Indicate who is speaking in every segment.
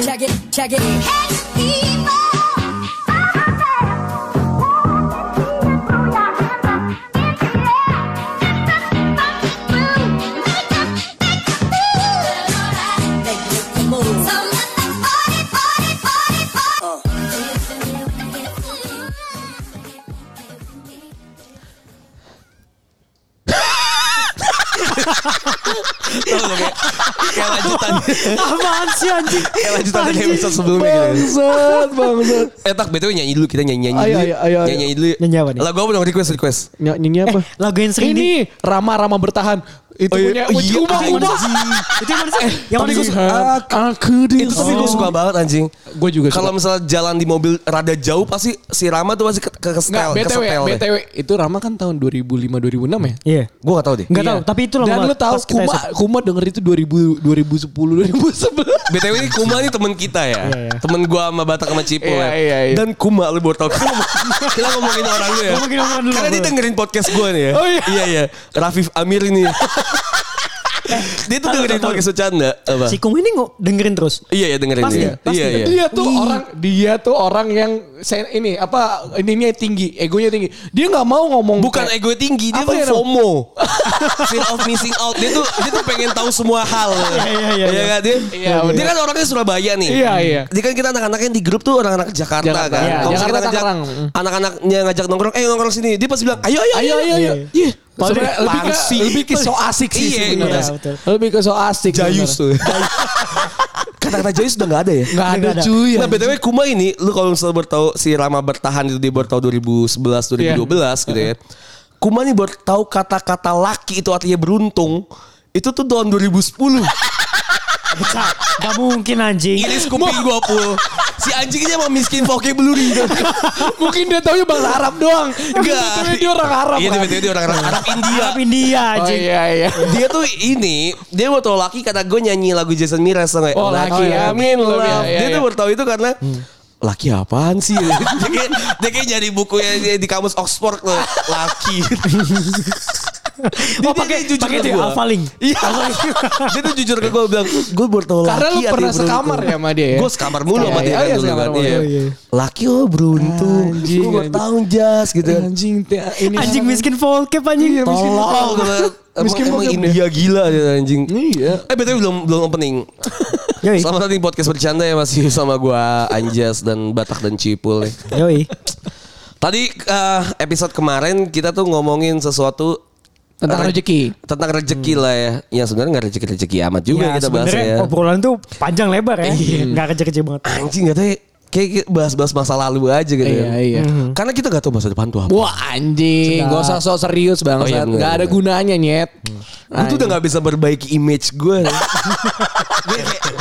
Speaker 1: 힘차게 make it move.
Speaker 2: Tahu nggak, kayak, kayak lanjutan
Speaker 3: Apaan sih anjing?
Speaker 2: Kayak lanjutan dari episode sebelumnya gitu.
Speaker 3: Bangsat, bangsat.
Speaker 2: Eh tak btw nyanyi dulu kita nyanyi nyanyi
Speaker 3: Ayo,
Speaker 2: dulu
Speaker 3: ayo, ayo, ayo.
Speaker 2: nyanyi nyanyi dulu
Speaker 3: Nyanyi apa nih?
Speaker 2: Lagu apa dong request request
Speaker 3: Ny- Nyanyi apa?
Speaker 4: Eh, Lagu yang sering di
Speaker 3: Ini Rama-Rama bertahan.
Speaker 2: Oh,
Speaker 3: Itu
Speaker 2: iya.
Speaker 3: punya Uji Uma Uma.
Speaker 4: itu yang mana sih?
Speaker 2: tapi
Speaker 4: Yang mana
Speaker 2: gue
Speaker 4: sih?
Speaker 2: suka ah,
Speaker 3: Aku di
Speaker 2: itu tapi gue suka banget anjing
Speaker 3: Gue Oh. juga
Speaker 2: kalau misalnya jalan di mobil rada jauh pasti si Rama tuh masih ke, ke, ke
Speaker 3: Nggak,
Speaker 2: setel ke
Speaker 3: BTW,
Speaker 2: setel deh.
Speaker 3: BTW. Itu Rama kan tahun 2005 2006 ya?
Speaker 4: Iya.
Speaker 2: Gue gak tau deh.
Speaker 4: Nggak
Speaker 3: Iya.
Speaker 4: tahu, tapi itu lama
Speaker 3: Dan lu
Speaker 4: banget
Speaker 3: tahu
Speaker 4: pas kita
Speaker 3: Kuma
Speaker 4: SMP.
Speaker 3: Kuma denger itu 2000 2010 2011.
Speaker 2: BTW ini Kuma ini temen kita ya. Temen gue sama Batak sama Cipul
Speaker 3: Iya,
Speaker 2: ya.
Speaker 3: iya, iya.
Speaker 2: Dan Kuma lu baru tau. Kita, ngomong- kita ngomongin orang lu ya.
Speaker 4: Ngomongin orang dulu,
Speaker 2: Karena dia
Speaker 4: boleh.
Speaker 2: dengerin podcast gue nih ya.
Speaker 3: Oh, iya.
Speaker 2: Iya iya. Rafif Amir ini. dia tuh dengerin
Speaker 4: tahu.
Speaker 2: podcast bercanda. Apa?
Speaker 4: Si Kung ini nggak dengerin terus.
Speaker 2: Iya iya dengerin
Speaker 4: Pasti,
Speaker 2: dia.
Speaker 4: pasti.
Speaker 2: Iya iya.
Speaker 3: Dia tuh orang dia tuh orang yang sen, ini apa ininya tinggi, egonya tinggi. Dia nggak mau ngomong
Speaker 2: Bukan
Speaker 3: kayak-
Speaker 2: ego tinggi, dia
Speaker 3: Apa
Speaker 2: tuh
Speaker 3: ya, Ram?
Speaker 2: FOMO. Fear of missing out. Dia tuh dia tuh pengen tahu semua hal.
Speaker 4: iya, iya, iya.
Speaker 2: kan? Dia, dia
Speaker 3: Iya, bener.
Speaker 2: kan orangnya Surabaya nih.
Speaker 3: Iya, iya.
Speaker 2: Dia kan kita anak-anaknya di grup tuh orang-anak Jakarta,
Speaker 3: Jakarta,
Speaker 2: kan.
Speaker 3: iya.
Speaker 2: Kalau
Speaker 3: Jakarta,
Speaker 2: kita ngajak
Speaker 3: Tangerang. Mm.
Speaker 2: Anak-anaknya ngajak nongkrong, eh nongkrong sini. Dia pasti bilang, "Ayo, ayo,
Speaker 3: Ayo ayo ayo. Iya. Sebenarnya
Speaker 2: Padahal
Speaker 3: lebih ke
Speaker 2: pangsi.
Speaker 3: lebih ke so asik sih
Speaker 2: Iya,
Speaker 3: sebenarnya.
Speaker 4: iya, betul.
Speaker 3: Lebih ke so asik.
Speaker 2: Jayus tuh. Kata-kata Jayus udah gak ada ya?
Speaker 3: Enggak ada
Speaker 4: Nggak ada.
Speaker 3: cuy.
Speaker 2: Nah BTW Kuma ini Lu kalau misalnya baru tahu Si Rama bertahan itu Dia baru tahu 2011 2012 gitu ya Kuma ini baru tahu Kata-kata laki itu artinya beruntung Itu tuh tahun 2010
Speaker 4: Pecah. Gak mungkin anjing.
Speaker 3: Iya,
Speaker 2: Iris kuping gua pul Si anjing ini emang miskin vocabulary
Speaker 3: Mungkin dia taunya bahasa Arab doang.
Speaker 2: Enggak
Speaker 3: Tapi dia orang Arab.
Speaker 2: Iya
Speaker 3: kan?
Speaker 2: tiba-tiba dia orang Arab Arab India
Speaker 4: Arab India
Speaker 3: Oh
Speaker 4: anjing.
Speaker 3: iya iya.
Speaker 2: Dia tuh ini Dia baru tau laki Kata gue nyanyi lagu Jason Mraz tau nggak?
Speaker 3: Oh, laki, amin, lu.
Speaker 2: love.
Speaker 3: Iya, iya,
Speaker 2: Dia tuh
Speaker 3: iya.
Speaker 2: baru tau itu karena Laki apaan sih? dia, kayak, dia kayak nyari bukunya dia di kamus Oxford loh. Laki.
Speaker 4: Oh pakai
Speaker 2: jujur
Speaker 4: pakai
Speaker 2: ke
Speaker 4: itu ya,
Speaker 2: gua.
Speaker 4: Alpha Link.
Speaker 2: Iya. dia tuh jujur ke gue bilang, gue baru tau laki.
Speaker 3: Karena lu pernah sekamar ya sama dia ya?
Speaker 2: Gue sekamar mulu sama dia
Speaker 3: Iya, iya,
Speaker 2: kan
Speaker 3: iya,
Speaker 2: dulu
Speaker 3: sekamar
Speaker 2: kan.
Speaker 3: mulu.
Speaker 2: iya.
Speaker 3: Oh, iya.
Speaker 2: Laki lo beruntung.
Speaker 3: Anjing,
Speaker 2: Gue baru
Speaker 3: anjing.
Speaker 2: tau jas gitu kan.
Speaker 3: Anjing teh ini.
Speaker 4: Anjing
Speaker 3: apa?
Speaker 4: miskin volkep anjing.
Speaker 2: Tolong
Speaker 3: Tolong. Iya, Miskin
Speaker 2: Miskin emang
Speaker 3: bokep
Speaker 2: India gila dia anjing.
Speaker 3: Iya.
Speaker 2: Eh betul belum belum opening.
Speaker 4: Yoi.
Speaker 2: Selamat datang di podcast bercanda ya masih sama gua Anjas dan Batak dan Cipul nih.
Speaker 3: Iya,
Speaker 4: Yoi.
Speaker 2: Tadi eh, episode kemarin kita tuh ngomongin sesuatu
Speaker 3: Tentang
Speaker 2: re-
Speaker 3: rezeki.
Speaker 2: Tentang rezeki lah ya. Ya sebenarnya nggak rezeki-rezeki amat juga
Speaker 4: Ya,
Speaker 2: kita bahas
Speaker 4: sebenarnya
Speaker 2: ya.
Speaker 4: obrolan tuh panjang lebar ya.
Speaker 3: Iya.
Speaker 4: Enggak kecil-kecil banget.
Speaker 2: Anjing gak tahu ya. Kayak kayak bahas-bahas masa lalu aja gitu.
Speaker 3: Iya,
Speaker 2: ya.
Speaker 3: iya.
Speaker 2: Karena kita gak tahu masa depan tuh apa.
Speaker 3: Wah anjing,
Speaker 4: Sedap.
Speaker 3: gak usah sok serius
Speaker 2: Oh,
Speaker 3: bang.
Speaker 2: iya, bener,
Speaker 3: gak ada
Speaker 2: bener.
Speaker 3: gunanya nyet.
Speaker 2: Gue tuh udah gak bisa berbaiki image gue.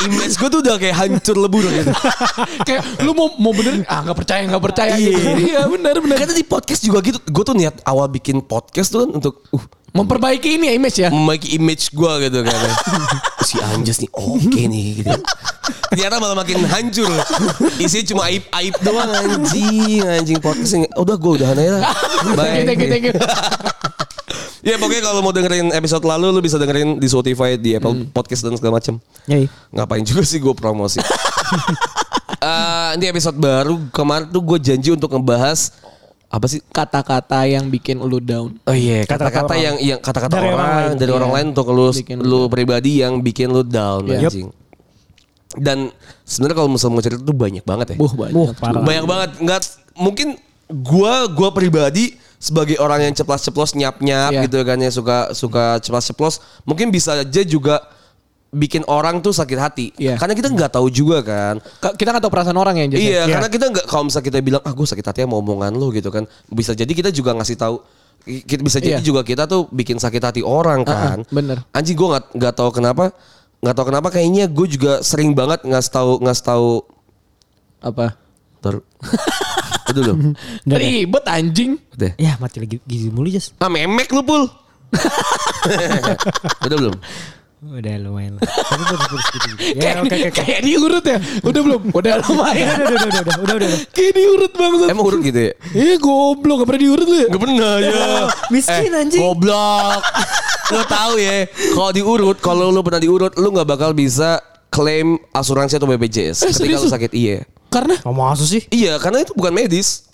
Speaker 2: image gue tuh udah kayak hancur lebur gitu.
Speaker 3: Kayak lu mau mau bener, ah gak percaya gak percaya.
Speaker 2: Iya.
Speaker 3: iya bener bener.
Speaker 2: Karena di podcast juga gitu. Gue tuh niat awal bikin podcast tuh kan untuk uh,
Speaker 3: Memperbaiki ini ya image ya.
Speaker 2: memiliki image gue gitu kan. si Anjas nih oke nih gitu. Ternyata malah makin hancur. Isinya cuma aib-aib doang anjing, anjing podcastnya. Udah gue udahan aja lah. Bye.
Speaker 3: Thank you, thank you, thank you.
Speaker 2: Ya pokoknya kalau mau dengerin episode lalu lu bisa dengerin di Spotify, di
Speaker 3: Hmm.
Speaker 2: Apple Podcast dan segala macem.
Speaker 4: Yoi.
Speaker 2: Ngapain juga sih gue promosi. Eh, ini episode baru kemarin tuh gue janji untuk ngebahas apa sih
Speaker 3: Kata-kata yang bikin lu down.
Speaker 2: Oh iya,
Speaker 4: Kata-kata
Speaker 2: kata-kata
Speaker 4: orang.
Speaker 2: yang yang kata-kata
Speaker 4: Dari
Speaker 2: orang,
Speaker 4: orang lain.
Speaker 2: dari orang
Speaker 3: Iya.
Speaker 2: lain untuk lu
Speaker 3: Bikin lu
Speaker 2: lu pribadi yang bikin lu down
Speaker 3: Iya.
Speaker 2: anjing. Dan sebenarnya kalau misalnya mau cerita tuh banyak banget ya.
Speaker 3: Buh banyak.
Speaker 4: Wah, parah.
Speaker 2: Banyak banget. Enggak mungkin gua gua pribadi sebagai orang yang ceplos-ceplos nyap-nyap
Speaker 3: Iya.
Speaker 2: gitu kan ya suka suka ceplos-ceplos, mungkin bisa aja juga bikin orang tuh sakit hati.
Speaker 3: Iya.
Speaker 2: Karena kita nggak tahu juga kan.
Speaker 3: Ka- Kita gak tahu perasaan orang ya. Jess, ya?
Speaker 2: Iya, karena kita nggak kalau misalnya kita bilang ah gue sakit hati sama omongan lo gitu kan. Bisa jadi kita juga ngasih tahu ki- kita bisa jadi
Speaker 3: Iya.
Speaker 2: juga kita tuh bikin sakit hati orang kan.
Speaker 3: bener.
Speaker 2: Anjing gue nggak nggak tahu kenapa nggak tahu kenapa kayaknya gue juga sering banget ngasih tahu ngasih tahu
Speaker 3: Apa?
Speaker 2: ter Aduh dong.
Speaker 4: Nggak ada.
Speaker 3: Ribet anjing.
Speaker 2: Deh.
Speaker 4: Ya mati lagi gizi mulu jas.
Speaker 2: Ah memek lu pul. Udah belum?
Speaker 4: Udah lumayan lah. Tapi putus-putus gitu.
Speaker 3: Kayak,
Speaker 4: Ya oke oke. oke.
Speaker 3: kayak diurut ya. Udah belum? Udah
Speaker 4: Udah
Speaker 3: lumayan.
Speaker 4: udah udah udah udah udah udah.
Speaker 3: kayak diurut banget.
Speaker 2: Emang urut gitu ya?
Speaker 3: Eh goblok, gak pernah diurut lu ya?
Speaker 2: Gak pernah ya.
Speaker 4: Miskin anjing.
Speaker 2: Goblok. lu tahu ya, kalau diurut, kalau lu pernah diurut, lu nggak bakal bisa klaim asuransi atau BPJS
Speaker 3: Eh,
Speaker 2: ketika
Speaker 3: serius
Speaker 2: lu
Speaker 3: lu?
Speaker 2: sakit iya.
Speaker 3: Karena
Speaker 4: Oh, masa sih?
Speaker 2: Iya, karena itu bukan medis.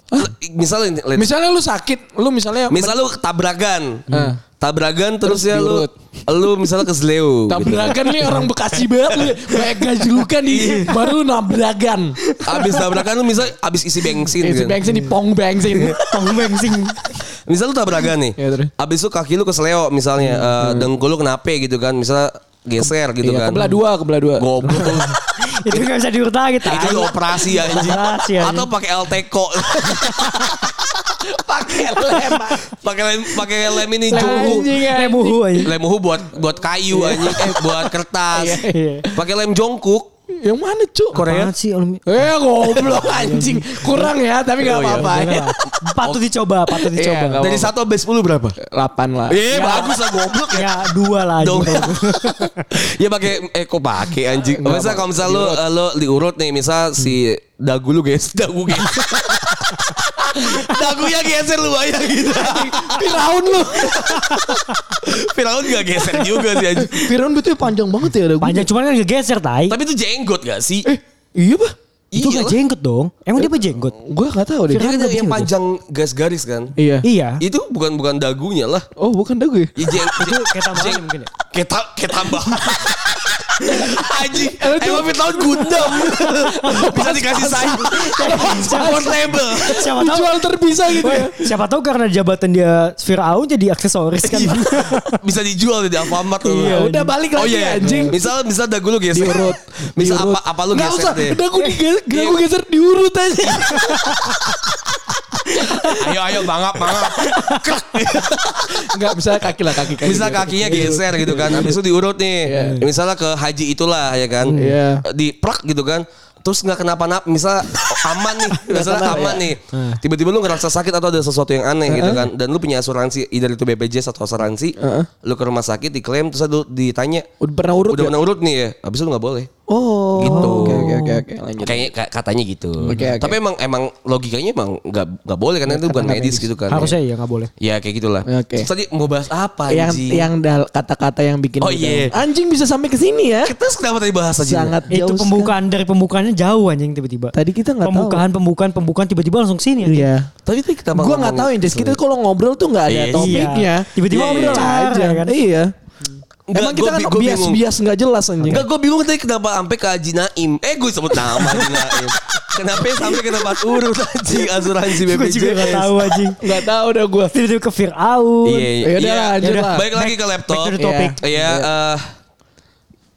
Speaker 2: Misalnya let's-
Speaker 3: misalnya lu sakit, lu misalnya
Speaker 2: misalnya lu tabrakan.
Speaker 3: Hmm.
Speaker 2: Tabrakan terus,
Speaker 3: Terus
Speaker 2: ya lu
Speaker 3: diurut.
Speaker 2: lu misalnya ke gitu. Sleo.
Speaker 4: Gitu.
Speaker 3: Tabrakan nih orang Bekasi banget lu. Kayak gajlukan di
Speaker 4: Iya.
Speaker 3: baru nabrakan.
Speaker 2: Abis tabrakan lu misal abis isi
Speaker 4: Iya,
Speaker 2: bensin
Speaker 3: Isi
Speaker 2: kan.
Speaker 3: bensin di pong bensin.
Speaker 4: Tong bengsing.
Speaker 2: Misal lu tabrakan nih.
Speaker 3: Iya, terus. Hmm.
Speaker 2: abis itu kaki lu ke Sleo misalnya eh, dengkul lu kenapa gitu kan. Misalnya geser gitu kan.
Speaker 3: Iya, kebelah dua, kebelah dua.
Speaker 2: Goblok.
Speaker 4: Itu nggak bisa diurut lagi. tai.
Speaker 2: itu operasi ya anjing.
Speaker 4: Operasi, anjing.
Speaker 2: Atau pakai LTKO.
Speaker 3: Pakai lem.
Speaker 2: pakai lem pakai lem ini jumbo.
Speaker 3: Anjing, Iya. anjing.
Speaker 4: Remuhu aja.
Speaker 2: Lem uhu buat buat kayu anjing eh buat kertas.
Speaker 4: Iya, iya.
Speaker 2: Pakai lem jongkuk.
Speaker 3: Yang mana cuk?
Speaker 4: Apaan sih? Olmi-
Speaker 3: Eh goblok anjing. Kurang ya, tapi gak
Speaker 2: Oh, iya.
Speaker 3: apa-apa. ya.
Speaker 4: Patut dicoba, patut
Speaker 3: Oh. Iya, nggak
Speaker 4: dicoba.
Speaker 2: Dari
Speaker 3: apa-apa.
Speaker 2: 1 sampai 10 berapa?
Speaker 3: Lapan lah.
Speaker 2: Eh bagus lah goblok ya.
Speaker 4: Ya dua lah.
Speaker 2: Dong.
Speaker 4: anjing.
Speaker 2: ya pakai eh kok pakai anjing.
Speaker 3: Enggak,
Speaker 2: Masa
Speaker 3: Pak.
Speaker 2: kalau misal lu
Speaker 4: Iya.
Speaker 2: eh, lu diurut nih, misal si dagu lu guys, dagu guys. Dagunya geser lu bayang gitu.
Speaker 3: Firaun lu.
Speaker 2: Firaun gak geser juga sih anjing.
Speaker 3: Firaun betul panjang banget ya dagu.
Speaker 4: Panjang cuman kan ngegeser tai.
Speaker 2: Tapi itu jenggot gak sih?
Speaker 3: Iya bah.
Speaker 4: Eh, Itu
Speaker 2: Iya
Speaker 4: gak
Speaker 2: lah.
Speaker 4: jenggot dong. Emang dia apa jenggot?
Speaker 3: Gue gak tahu deh.
Speaker 4: Firaun.
Speaker 2: Kan
Speaker 4: Kan
Speaker 2: yang
Speaker 4: gitu.
Speaker 2: panjang garis-garis kan?
Speaker 3: Iya.
Speaker 4: Iya.
Speaker 2: Itu bukan bukan dagunya lah.
Speaker 3: Oh bukan dagu ya?
Speaker 2: Ya, jeng-
Speaker 4: Itu kayak tambahan
Speaker 2: jeng-
Speaker 4: mungkin ya.
Speaker 2: Kayak ta- kayak tambah. Anjing,
Speaker 3: Lu tuh-
Speaker 2: emang Firaun Gundam. Bisa dikasih sayap. Portable.
Speaker 4: Siapa tahu
Speaker 3: Jual terpisah gitu
Speaker 4: Weh,
Speaker 3: ya.
Speaker 4: siapa tahu karena jabatan dia Firaun jadi
Speaker 3: Iya.
Speaker 4: aksesoris kan.
Speaker 2: Bisa dijual di Alfamart tuh.
Speaker 4: Iya,
Speaker 3: udah balik
Speaker 2: Oh
Speaker 3: lagi
Speaker 2: iya,
Speaker 3: anjing.
Speaker 2: Misal misal dagu lu geser.
Speaker 3: Diurut.
Speaker 2: Misal
Speaker 3: Diurut.
Speaker 2: apa apa lu
Speaker 3: Nggak
Speaker 2: geser
Speaker 3: usah,
Speaker 2: deh. Eh, iya.
Speaker 3: dagu digeser, dagu geser diurut aja.
Speaker 2: Ayo ayo bangap bangap.
Speaker 3: Enggak bisa kaki lah kaki Iya. kaki.
Speaker 2: Misal kakinya geser gitu kan. Habis itu diurut nih.
Speaker 3: Iya.
Speaker 2: Misalnya ke haji itulah ya kan.
Speaker 3: Iya.
Speaker 2: Di prak gitu kan. Terus nggak kenapa-napa, misal aman nih, misalnya
Speaker 3: kenapa,
Speaker 2: aman
Speaker 3: ya.
Speaker 2: nih. Tiba-tiba lu ngerasa sakit atau ada sesuatu yang aneh gitu kan. Dan lu punya asuransi, either itu BPJS atau asuransi. Lu ke rumah sakit diklaim, terus lu ditanya,
Speaker 3: Udah pernah urut
Speaker 2: udah
Speaker 3: ya?
Speaker 2: pernah urut nih ya? Habis itu lu nggak boleh.
Speaker 3: Oh.
Speaker 2: Gitu.
Speaker 3: Oke oke oke oke lanjut.
Speaker 2: Kayaknya ka- katanya gitu.
Speaker 3: Oke, oke.
Speaker 2: Tapi emang emang logikanya emang nggak nggak boleh karena itu bukan
Speaker 3: nggak
Speaker 2: medis, gitu kan.
Speaker 4: Harusnya ya nggak boleh.
Speaker 2: Ya kayak gitulah.
Speaker 3: Oke.
Speaker 2: Terus tadi mau bahas apa
Speaker 3: Yang
Speaker 2: anjing?
Speaker 3: yang dal- kata-kata yang bikin
Speaker 2: Oh,
Speaker 3: kita-
Speaker 2: iya.
Speaker 3: anjing bisa sampai ke sini ya.
Speaker 2: Terus kenapa tadi bahas aja?
Speaker 3: Sangat jauh.
Speaker 4: Itu
Speaker 3: sekali.
Speaker 4: pembukaan dari pembukaannya jauh anjing tiba-tiba.
Speaker 3: Tadi kita nggak tahu.
Speaker 4: Pembukaan pembukaan pembukaan tiba-tiba langsung sini. anjing.
Speaker 3: Iya.
Speaker 2: Tapi tadi kenapa
Speaker 3: Gua nggak tahu ya, Jess. Kita kalau ngobrol tuh nggak ada
Speaker 2: Iya.
Speaker 3: topiknya.
Speaker 4: Tiba-tiba
Speaker 3: Iya, iya.
Speaker 4: ngobrol aja,
Speaker 3: aja
Speaker 4: kan?
Speaker 3: Iya.
Speaker 2: Nggak,
Speaker 3: Emang kita
Speaker 2: gua
Speaker 3: kan
Speaker 2: bi- gua bingung.
Speaker 3: bias-bias ya. nggak jelas anjing.
Speaker 2: Enggak gue bingung tadi kenapa sampai ke Haji Naim. Eh gue sebut nama Haji Naim. Kenapa sampai ke tempat urut anjing asuransi
Speaker 4: Gue
Speaker 2: BPJS?
Speaker 4: juga nggak tahu anjing.
Speaker 3: Nggak tahu dah gue.
Speaker 4: Tiba-tiba ke Firaun.
Speaker 2: Iya, iya.
Speaker 3: Yaudah,
Speaker 2: Iya.
Speaker 3: Ya lanjut
Speaker 2: Yaudah.
Speaker 3: lah.
Speaker 2: Balik lagi ke
Speaker 4: Back
Speaker 2: laptop.
Speaker 4: to the topic.
Speaker 2: Iya, eh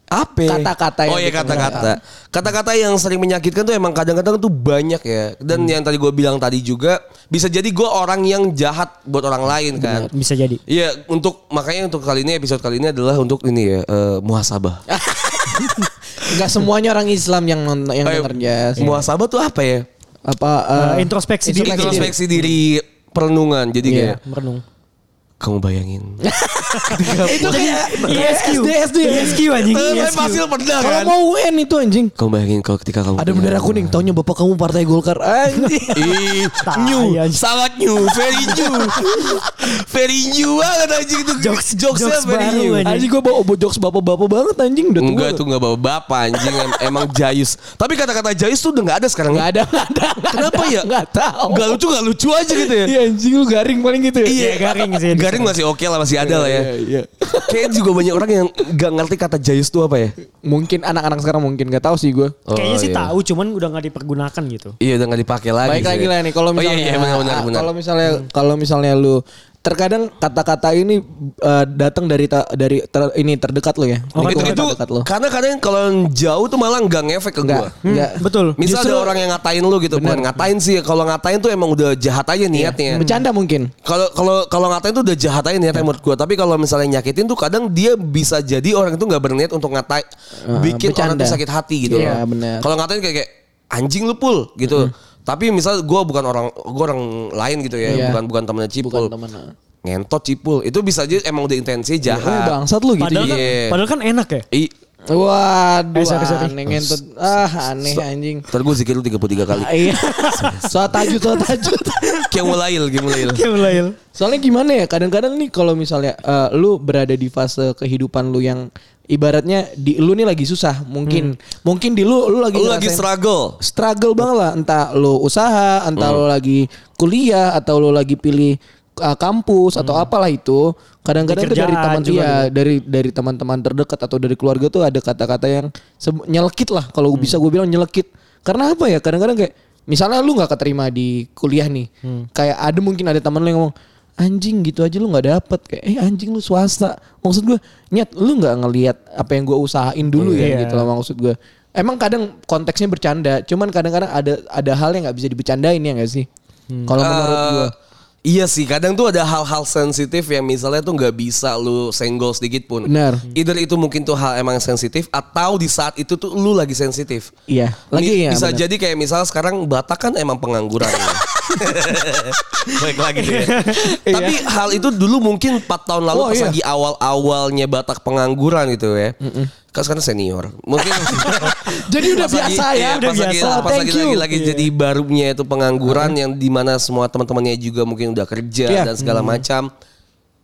Speaker 2: apa?
Speaker 3: Kata-kata yang
Speaker 2: Oh iya
Speaker 3: bikin
Speaker 2: kata-kata. Kata-kata yang sering menyakitkan tuh emang kadang-kadang tuh banyak ya. Dan yang tadi gue bilang tadi juga bisa jadi gue orang yang jahat buat orang lain kan.
Speaker 4: Bisa jadi.
Speaker 2: Iya, untuk makanya untuk kali ini episode kali ini adalah untuk ini ya eh, muhasabah.
Speaker 3: Nggak semuanya orang Islam yang nonton yang
Speaker 2: Eh,
Speaker 3: denger Jess.
Speaker 2: Muhasabah tuh apa ya?
Speaker 3: Apa eh,
Speaker 4: Eh, introspeksi diri.
Speaker 2: Introspeksi diri, perenungan. Jadi
Speaker 3: Iya.
Speaker 2: kayak
Speaker 4: Merenung.
Speaker 2: kamu bayangin.
Speaker 3: Itu kayak
Speaker 4: ISQ.
Speaker 3: SD SD
Speaker 4: ISQ anjing.
Speaker 2: Terus
Speaker 4: ISQ.
Speaker 2: pasti pernah
Speaker 3: iya, Kalau mau UN itu anjing.
Speaker 2: Kamu bayangin kalau ketika kamu
Speaker 3: Ada bendera kuning, taunya bapak kamu partai Golkar. Anjing.
Speaker 2: Ih,
Speaker 4: Tai,
Speaker 2: new,
Speaker 4: anjing.
Speaker 2: sangat new, very new, very new banget anjing itu jokes jokesnya
Speaker 4: jokes
Speaker 2: very
Speaker 4: baru,
Speaker 2: new.
Speaker 4: anjing.
Speaker 3: Anjing gue bawa bawa jokes bapak-bapak banget anjing udah tua.
Speaker 2: Enggak itu enggak bawa bapak anjing em- emang jayus. Tapi kata-kata jayus tuh udah enggak ada sekarang.
Speaker 3: Enggak ada, enggak ada. nggak
Speaker 2: Kenapa
Speaker 3: ada,
Speaker 2: ya?
Speaker 3: Enggak tahu.
Speaker 2: Enggak lucu enggak lucu aja gitu ya.
Speaker 3: Iya anjing lu garing paling gitu ya.
Speaker 4: Iya, garing sih.
Speaker 2: Garing masih oke lah masih ada lah ya.
Speaker 3: Iya, iya.
Speaker 2: Kayaknya juga banyak orang yang enggak ngerti kata jayus tuh apa ya.
Speaker 3: Mungkin anak-anak sekarang mungkin enggak tahu sih gue.
Speaker 4: Kayaknya sih
Speaker 2: iya.
Speaker 4: tahu cuman udah nggak dipergunakan gitu.
Speaker 2: Iya udah nggak dipakai lagi.
Speaker 3: Baik
Speaker 2: sih.
Speaker 3: lagi lah nih kalau
Speaker 2: Oh, iya,
Speaker 3: misalnya
Speaker 2: iya, benar, benar,
Speaker 3: ah,
Speaker 2: benar. Hmm.
Speaker 3: kalau misalnya kalau misalnya lu terkadang kata-kata ini eh, datang dari ta- dari ter- ini terdekat lo ya.
Speaker 4: Oh,
Speaker 2: itu,
Speaker 3: Lingkungan
Speaker 2: itu
Speaker 3: terdekat lo.
Speaker 2: Gitu, karena kadang kalau yang jauh tuh malah nggak ngefek ke
Speaker 3: Enggak,
Speaker 2: gua.
Speaker 3: enggak.
Speaker 4: Hmm, Betul.
Speaker 2: Misal ada orang yang ngatain lu gitu, bukan ngatain sih. Kalau ngatain tuh emang udah jahat aja niatnya.
Speaker 3: Iya, Bercanda mungkin.
Speaker 2: Kalau kalau kalau ngatain tuh udah jahat aja niatnya menurut gua. Tapi kalau misalnya nyakitin tuh kadang dia bisa jadi orang itu nggak berniat untuk ngatain, bikin orang
Speaker 3: Ah, bercanda.
Speaker 2: tuh sakit hati gitu.
Speaker 3: Iya,
Speaker 2: loh.
Speaker 3: benar.
Speaker 2: Kalau ngatain kayak, kayak anjing lu pul gitu. Tapi misal gua bukan orang gua orang lain gitu ya,
Speaker 3: Iya.
Speaker 2: bukan bukan temennya Cipul.
Speaker 3: Bukan temen.
Speaker 2: Ngentot Cipul. Itu bisa aja emang udah intensi
Speaker 3: Eh,
Speaker 2: jahat.
Speaker 3: bangsat lu gitu.
Speaker 4: Padahal
Speaker 3: ya.
Speaker 4: kan,
Speaker 2: Iya.
Speaker 4: padahal kan enak ya.
Speaker 2: Ih,
Speaker 3: Waduh,
Speaker 4: Eh, sorry, sorry.
Speaker 3: aneh ngentut. Ah, aneh anjing.
Speaker 2: ntar gue zikir lu 33 kali.
Speaker 3: Ah, Iya. Soal tajud, soal tajud.
Speaker 2: Kayak mulail, kayak mulail.
Speaker 4: Kayak melail.
Speaker 3: Soalnya gimana ya? Kadang-kadang nih kalau misalnya eh, lu berada di fase kehidupan lu yang ibaratnya di lu nih lagi susah mungkin mungkin di lu lu lagi
Speaker 2: Hmm. Lu lagi
Speaker 3: ngerasain-
Speaker 2: struggle.
Speaker 3: struggle banget lah entah lo usaha entah
Speaker 4: Hmm.
Speaker 3: lo lagi kuliah atau lo lagi pilih uh, kampus atau apalah itu kadang-kadang
Speaker 4: Hmm. Di
Speaker 3: tuh dari
Speaker 4: kerjaan
Speaker 3: teman
Speaker 4: juga gitu.
Speaker 3: iya, dari dari teman-teman terdekat atau dari keluarga tuh ada kata-kata yang se- nyelekit lah kalau
Speaker 4: Hmm.
Speaker 3: bisa gue bilang nyelekit karena apa ya kadang-kadang kayak misalnya lu nggak keterima di kuliah nih
Speaker 4: Hmm.
Speaker 3: kayak ada mungkin ada teman lu yang ngomong anjing gitu aja lu nggak dapet kayak eh anjing lu swasta maksud gue nyet lu nggak ngelihat apa yang gue usahain dulu ya
Speaker 4: Iya.
Speaker 3: gitu loh maksud gue emang kadang konteksnya bercanda cuman kadang-kadang ada ada hal yang nggak bisa dibercandain ya nggak sih
Speaker 4: Hmm.
Speaker 3: kalau menurut
Speaker 2: Eh,
Speaker 3: gue
Speaker 2: Iya sih, kadang tuh ada hal-hal sensitif yang misalnya tuh nggak bisa lu senggol sedikit pun.
Speaker 3: Benar.
Speaker 2: Either itu mungkin tuh hal emang sensitif atau di saat itu tuh lu lagi sensitif.
Speaker 3: iya lagi
Speaker 2: Mi-
Speaker 3: ya
Speaker 2: Bisa
Speaker 3: benar.
Speaker 2: jadi kayak misalnya sekarang Batak kan emang pengangguran. Baik lagi deh. Tapi hal itu dulu mungkin 4 tahun lalu
Speaker 3: Oh,
Speaker 2: pas
Speaker 3: iya.
Speaker 2: lagi awal-awalnya Batak pengangguran gitu ya. Kan sekarang senior. Mungkin
Speaker 3: jadi udah
Speaker 2: pas lagi-
Speaker 3: biasa ya
Speaker 2: iya,
Speaker 4: udah
Speaker 2: pas lagi,
Speaker 4: biasa.
Speaker 2: pas
Speaker 4: Thank
Speaker 2: lagi,
Speaker 4: you.
Speaker 2: lagi, lagi
Speaker 4: Iya.
Speaker 2: jadi barunya itu pengangguran yang dimana semua teman-temannya juga mungkin udah kerja
Speaker 3: Iya.
Speaker 2: dan segala macam.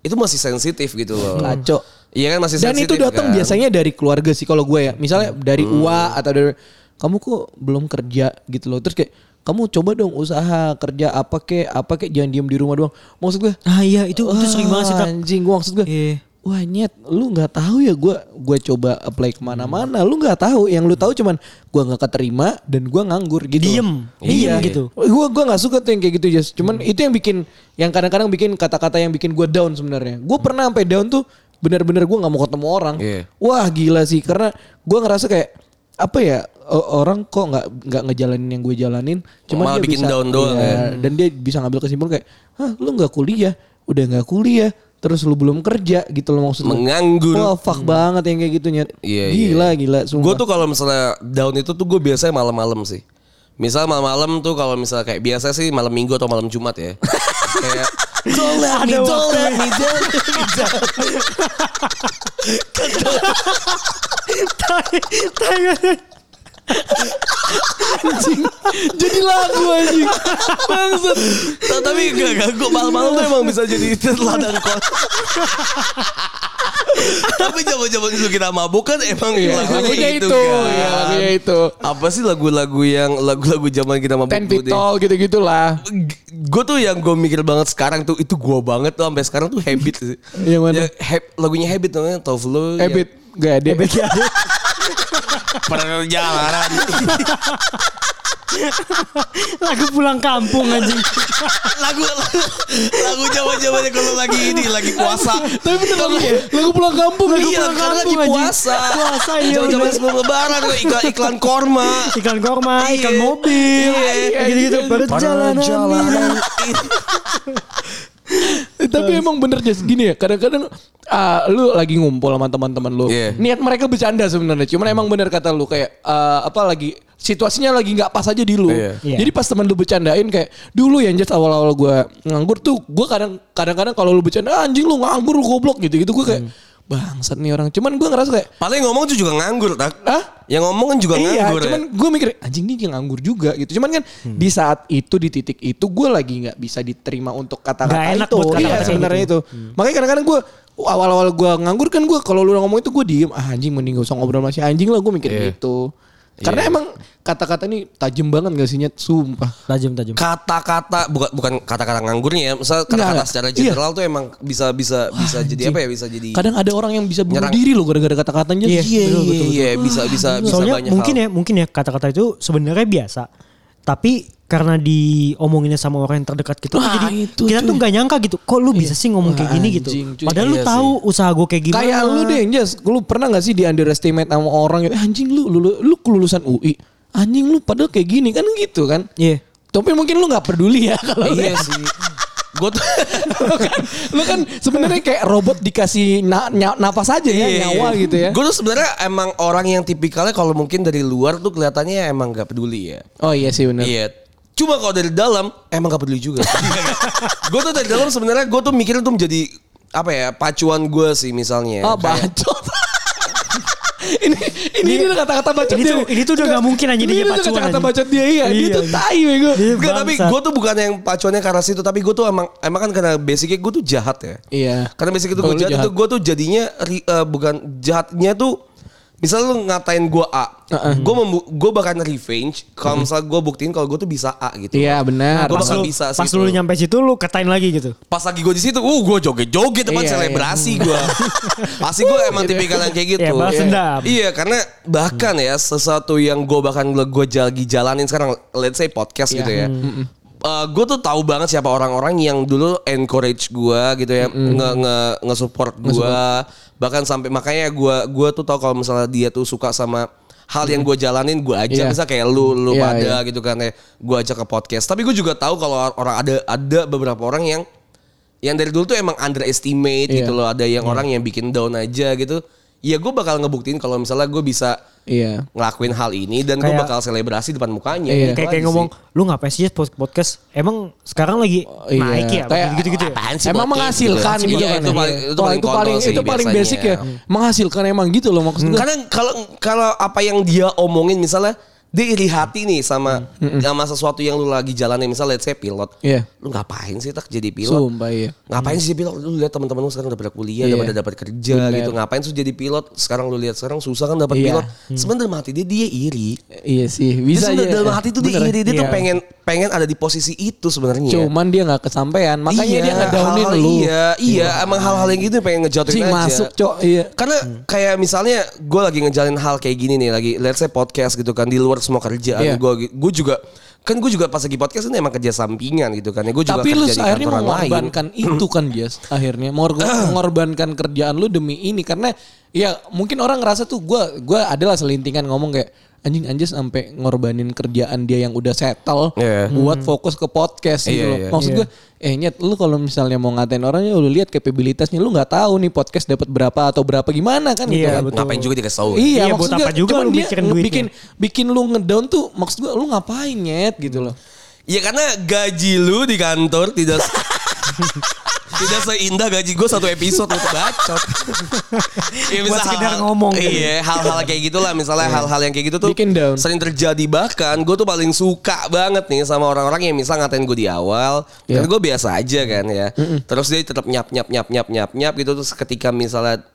Speaker 2: Itu masih sensitif gitu loh.
Speaker 3: Kacau.
Speaker 2: Iya kan masih
Speaker 3: dan
Speaker 2: sensitif
Speaker 3: itu datang
Speaker 2: kan? Hmm.
Speaker 3: biasanya dari keluarga sih kalau gue ya misalnya dari ua atau dari kamu kok belum kerja gitu loh terus kayak kamu coba dong usaha kerja apa kek apa kek jangan diem di rumah doang maksud gue
Speaker 4: Ah iya itu itu sering banget sih
Speaker 3: Wah,
Speaker 4: Kak.
Speaker 3: Anjing gue maksud gue.
Speaker 4: Iya.
Speaker 3: Wah nyet, lu nggak tahu ya gue gue coba apply kemana-mana, lu nggak tahu. Yang lu tahu cuman gue nggak keterima dan gue nganggur gitu.
Speaker 4: Diem.
Speaker 3: iya.
Speaker 4: Diem gitu. Hmm.
Speaker 3: Gue gue nggak suka tuh yang kayak gitu Jas. Cuman itu yang bikin, yang kadang-kadang bikin kata-kata yang bikin gue down sebenarnya. Gue pernah sampai down tuh benar-benar gue nggak mau ketemu orang.
Speaker 2: Iya.
Speaker 3: Wah gila sih karena gue ngerasa kayak apa ya o- orang kok nggak nggak ngejalanin yang gue jalanin cuman
Speaker 2: Malah
Speaker 3: dia
Speaker 2: bikin
Speaker 3: bisa-
Speaker 2: down doang
Speaker 3: Iya,
Speaker 4: kan?
Speaker 2: ya.
Speaker 3: dan dia bisa ngambil kesimpulan kayak hah lu nggak kuliah udah nggak kuliah terus lu belum kerja gitu loh maksudnya
Speaker 2: Menganggur.
Speaker 3: wah fuck banget yang kayak gitu nyet
Speaker 2: Hmm. Iya,
Speaker 3: gila
Speaker 2: iya.
Speaker 3: gila sumpah
Speaker 2: Gue tuh kalau misalnya down itu tuh gue biasanya malam-malam sih. Misal malam-malam tuh kalau misalnya kayak biasa sih malam minggu atau malam jumat ya. kayak don't let me,
Speaker 4: Ada
Speaker 2: don't
Speaker 4: waktu
Speaker 2: let me, don't let me.
Speaker 3: jadi lagu anjing bangsat
Speaker 2: Ta- Tapi enggak, enggak. Gue malam-malam tuh emang bisa jadi ladang kos. Tapi jaman-jaman dulu kita mabuk kan emang
Speaker 3: Iya, lagunya
Speaker 2: gitu
Speaker 3: itu
Speaker 2: kan.
Speaker 3: ya lagunya itu
Speaker 2: Apa sih lagu-lagu yang lagu-lagu zaman kita mabuk
Speaker 3: ten
Speaker 2: dulu
Speaker 3: feet
Speaker 2: deh?
Speaker 3: tall gitu gitulah
Speaker 2: gue tuh yang gue mikir banget sekarang tuh itu gue banget tuh sampai sekarang tuh habit sih.
Speaker 3: Yang mana?
Speaker 2: Ya, hab- lagunya habit namanya Tovlo.
Speaker 3: ebit gak ada ebit
Speaker 2: iya.
Speaker 3: ya
Speaker 2: Ya, perjalanan.
Speaker 4: Lagu pulang kampung anjing.
Speaker 2: lagu lagu zaman zamannya kalau lagi ini lagi puasa.
Speaker 3: tapi bener lagu lagu pulang kampung
Speaker 4: Lagu
Speaker 2: Iya,
Speaker 4: pulang
Speaker 2: karena lagi
Speaker 4: kampung, anjing.
Speaker 2: puasa.
Speaker 4: Puasa, iya,
Speaker 2: Zaman zaman
Speaker 4: bener.
Speaker 2: sebelum lebaran tuh iklan iklan korma.
Speaker 4: Ikan
Speaker 3: Ah,
Speaker 4: korma,
Speaker 2: Iya.
Speaker 4: ikan mobil,
Speaker 2: Iya.
Speaker 4: gitu-gitu. Perjalanan.
Speaker 2: Perjalanan.
Speaker 3: Eh, Tapi emang bener Jas gini ya kadang-kadang ah, lu lagi ngumpul sama teman-teman lu.
Speaker 2: Iya.
Speaker 3: Niat mereka bercanda sebenarnya. Cuman emang bener kata lu kayak ah, apa lagi situasinya lagi nggak pas aja di lu.
Speaker 2: Iya.
Speaker 4: Iya.
Speaker 3: Jadi pas teman lu bercandain kayak dulu ya Jas awal-awal gua nganggur tuh gua kadang kadang-kadang kalau lu bercanda "Ah, anjing lu nganggur lu goblok gitu-gitu gua kayak bangsat nih orang. Cuman gua ngerasa kayak
Speaker 2: Paling ngomong tuh juga nganggur, tak?
Speaker 3: Hah?
Speaker 2: Yang ngomong kan juga
Speaker 3: Iya,
Speaker 4: ya?
Speaker 2: nganggur.
Speaker 3: cuman
Speaker 2: Cuman,
Speaker 3: gue mikir anjing ini nganggur juga gitu. Cuman kan
Speaker 4: Hmm.
Speaker 3: di saat itu di titik itu gue lagi nggak bisa diterima untuk
Speaker 4: Nggak
Speaker 3: kata-kata
Speaker 4: enak
Speaker 3: itu.
Speaker 4: buat kata-kata
Speaker 3: Iya
Speaker 4: kayak gitu. Hmm.
Speaker 3: sebenarnya itu. Makanya kadang-kadang gue awal-awal gue nganggur kan gue kalau lu ngomong itu gue diem ah anjing mending gak usah ngobrol sama si anjing lah gue mikir
Speaker 2: Iya.
Speaker 3: gitu. Karena
Speaker 2: Iya.
Speaker 3: emang kata-kata ini tajam banget gak sih Nyet? Sumpah.
Speaker 4: Tajam tajam.
Speaker 2: kata-kata bukan bukan kata-kata nganggurnya ya. Misal
Speaker 3: Enggak,
Speaker 2: kata-kata
Speaker 3: enggak.
Speaker 2: secara
Speaker 3: Iya.
Speaker 2: general tuh emang bisa bisa bisa jadi apa ya? Bisa jadi
Speaker 3: Kadang ada orang yang bisa bunuh
Speaker 2: Nyerang.
Speaker 3: diri loh gara-gara kata-katanya.
Speaker 2: Iya,
Speaker 4: Iya, betul,
Speaker 2: iya,
Speaker 4: betul,
Speaker 2: iya, bisa bisa bisa
Speaker 4: Soalnya
Speaker 2: banyak
Speaker 4: mungkin
Speaker 2: hal.
Speaker 4: ya, mungkin ya kata-kata itu sebenarnya biasa. Tapi karena diomonginnya sama orang yang terdekat gitu,
Speaker 3: Wah,
Speaker 4: jadi
Speaker 3: itu,
Speaker 4: kita tuh
Speaker 3: cuy.
Speaker 4: nggak nyangka gitu. Kok lu bisa sih ngomong
Speaker 3: Wah,
Speaker 4: kayak gini gitu?
Speaker 3: anjing, cuy.
Speaker 4: Padahal lu
Speaker 2: Iya
Speaker 4: tahu usaha gue kayak gimana.
Speaker 3: Kayak lu deh, Jas. Lu pernah gak sih di underestimate sama orang gitu? "Eh, Anjing lu, lu, lu- lu kelulusan UI. Anjing lu padahal kayak gini kan gitu kan?
Speaker 4: Iya.
Speaker 3: Tapi mungkin lu nggak peduli ya kalau
Speaker 2: Iya sih. Gue tuh
Speaker 3: lu kan, lu kan sebenarnya kayak robot dikasih na- nya- napas aja ya, nyawa gitu ya.
Speaker 2: Gue Iya, tuh sebenarnya emang orang yang tipikalnya kalau mungkin dari luar tuh kelihatannya emang gak peduli ya.
Speaker 3: Oh iya sih benar.
Speaker 2: Iya. Cuma kalau dari dalam emang gak peduli juga. gue tuh dari dalam sebenarnya gue tuh mikirnya tuh menjadi apa ya pacuan gue sih misalnya.
Speaker 3: Oh
Speaker 2: Kayak-
Speaker 3: bacot. ini ini
Speaker 4: Ini-
Speaker 3: ini kata-kata bacot
Speaker 4: ini
Speaker 3: dia.
Speaker 4: tuh- ini tuh udah nggak mungkin anjing
Speaker 3: Ini
Speaker 4: dia
Speaker 3: tuh
Speaker 4: pacuan,
Speaker 3: Kata-kata
Speaker 4: anjing.
Speaker 3: bacot dia iya, dia
Speaker 4: Iya,
Speaker 3: tuh
Speaker 4: anjing.
Speaker 3: tai bego.
Speaker 4: Iya,
Speaker 2: Enggak, tapi
Speaker 4: bangsat.
Speaker 2: gue tuh bukan yang pacuannya karena situ, tapi gue tuh emang emang kan karena basicnya gue tuh jahat ya.
Speaker 3: Iya.
Speaker 2: Karena basic itu
Speaker 3: Oh,
Speaker 2: gue
Speaker 3: lu
Speaker 2: jahat,
Speaker 3: jahat.
Speaker 2: itu gue tuh jadinya ri- eh, bukan jahatnya tuh misalnya lu ngatain gue A, gue membu- gue bahkan revenge kalau misalnya gue buktiin kalau gue tuh bisa A gitu.
Speaker 3: Iya benar.
Speaker 2: Gua
Speaker 4: pas
Speaker 2: bakal
Speaker 4: lu,
Speaker 2: bisa sih
Speaker 4: pas
Speaker 2: itu.
Speaker 4: lu nyampe situ lu katain lagi gitu.
Speaker 2: Pas lagi gue di situ, uh gue joget-joget tempat
Speaker 3: Iya, iya.
Speaker 2: selebrasi gue. Pasti gue emang
Speaker 3: gitu ya.
Speaker 2: tipikal yang kayak gitu.
Speaker 4: Iya, balas
Speaker 2: Iya.
Speaker 4: dendam.
Speaker 2: Iya, karena bahkan ya sesuatu yang gue bahkan gue lagi jalanin sekarang, let's say podcast
Speaker 3: Iya.
Speaker 2: gitu ya. gue tuh tahu banget siapa orang-orang yang dulu encourage gue gitu ya, nge nge nge support gue, bahkan sampai makanya gue gue tuh tahu kalau misalnya dia tuh suka sama hal yang gue jalanin gue ajak
Speaker 3: Iya.
Speaker 2: bisa kayak lu lu
Speaker 3: Iya,
Speaker 2: pada
Speaker 3: iya.
Speaker 2: gitu kan ya gue ajak ke podcast tapi gue juga tahu kalau orang ada ada beberapa orang yang yang dari dulu tuh emang underestimate
Speaker 3: Iya.
Speaker 2: gitu loh ada yang orang yang bikin down aja gitu ya gue bakal ngebuktiin kalau misalnya gue bisa
Speaker 3: Iya.
Speaker 2: ngelakuin hal ini dan gue
Speaker 4: Kayak-
Speaker 2: bakal selebrasi depan mukanya
Speaker 3: Iya.
Speaker 2: Gitu
Speaker 4: Kayak kayak
Speaker 2: aja
Speaker 4: ngomong,
Speaker 2: sih. Oh,
Speaker 4: lu ngapain sih pod- podcast? Emang sekarang lagi
Speaker 3: Iya.
Speaker 4: naik ya?
Speaker 3: Kayak
Speaker 4: gitu-gitu ya.
Speaker 2: apaan sih
Speaker 3: Emang
Speaker 2: podcast
Speaker 3: menghasilkan
Speaker 2: gitu,
Speaker 3: gitu
Speaker 2: Iya,
Speaker 3: kan
Speaker 2: itu
Speaker 3: ya.
Speaker 2: paling itu paling,
Speaker 3: Wah, itu paling
Speaker 2: kontol sih
Speaker 3: itu paling
Speaker 2: biasanya. Hmm.
Speaker 3: basic ya. Menghasilkan emang gitu loh maksud gua.
Speaker 2: Karena kalau kalau apa yang dia omongin misalnya dia iri hati nih sama sama sesuatu yang lu lagi jalanin misalnya let's say pilot.
Speaker 3: Iya.
Speaker 2: Lu ngapain sih tak jadi pilot?
Speaker 3: Sumpah iya.
Speaker 2: Ngapain sih jadi pilot? Lu lihat teman-teman lu sekarang udah pada kuliah, udah
Speaker 3: Iya.
Speaker 2: pada dapat kerja
Speaker 3: Bener.
Speaker 2: gitu. Ngapain sih jadi pilot? Sekarang lu lihat sekarang susah kan dapat
Speaker 3: Iya.
Speaker 2: pilot. Sebenarnya dalam hati dia dia iri.
Speaker 3: Iya sih,
Speaker 2: Dia
Speaker 3: bisa
Speaker 2: sebenarnya
Speaker 3: aja.
Speaker 2: dalam hati tuh dia
Speaker 3: Bener.
Speaker 2: iri, dia tuh
Speaker 4: Iya.
Speaker 2: pengen pengen ada di posisi itu sebenarnya.
Speaker 3: Cuman dia nggak kesampaian, makanya dia
Speaker 2: Iya,
Speaker 3: ngedownin
Speaker 2: hal-hal-
Speaker 3: lu.
Speaker 2: Iya, iya, emang hal-hal yang gitu pengen ngejatuhin
Speaker 3: Cing
Speaker 2: aja.
Speaker 3: masuk, Cok. Iya.
Speaker 2: Karena kayak misalnya gue lagi ngejalin hal kayak gini nih lagi let's say podcast gitu kan di luar semua kerjaan
Speaker 3: Iya.
Speaker 2: gue gue juga kan gue juga pas lagi podcast ini emang kerja sampingan gitu kan ya gue juga
Speaker 3: Tapi lu
Speaker 2: kerja di
Speaker 3: akhirnya
Speaker 2: kantoran lain
Speaker 3: mengorbankan itu kan Jas akhirnya Mengor- mengorbankan kerjaan lu demi ini karena ya mungkin orang ngerasa tuh gua gua adalah selintingan ngomong kayak anjing anjing sampai ngorbanin kerjaan dia yang udah settle
Speaker 2: Iya.
Speaker 3: buat fokus ke podcast gitu
Speaker 2: Iya,
Speaker 3: loh.
Speaker 2: iya.
Speaker 3: Maksud gua eh nyet lu kalau misalnya mau ngatain orangnya lu lihat capabilitasnya lu nggak tahu nih podcast dapat berapa atau berapa gimana kan gitu
Speaker 4: Iya,
Speaker 3: kan.
Speaker 4: betul.
Speaker 2: ngapain juga dikasih tau
Speaker 3: Iya,
Speaker 4: Iya,
Speaker 3: maksud
Speaker 4: buat
Speaker 3: gua,
Speaker 4: apa juga
Speaker 3: cuman
Speaker 4: lu
Speaker 3: dia
Speaker 4: mikirin
Speaker 3: nge-
Speaker 4: duitnya?
Speaker 3: bikin bikin lu ngedown tuh maksud gua lu ngapain nyet gitu loh.
Speaker 2: ya karena gaji lu di kantor tidak se- tidak seindah gaji gue satu episode untuk bacot ya,
Speaker 4: Buat
Speaker 2: misalnya
Speaker 4: sekedar
Speaker 2: hal-hal-
Speaker 4: ngomong gitu.
Speaker 2: iya hal-hal kayak gitulah misalnya hal-hal yang kayak gitu tuh
Speaker 3: Bikin down.
Speaker 2: sering terjadi bahkan gue tuh paling suka banget nih sama orang-orang yang misal ngatain gue di awal kan
Speaker 3: Iya.
Speaker 2: gue biasa aja kan ya terus dia tetap nyap nyap nyap nyap nyap nyap gitu terus ketika misalnya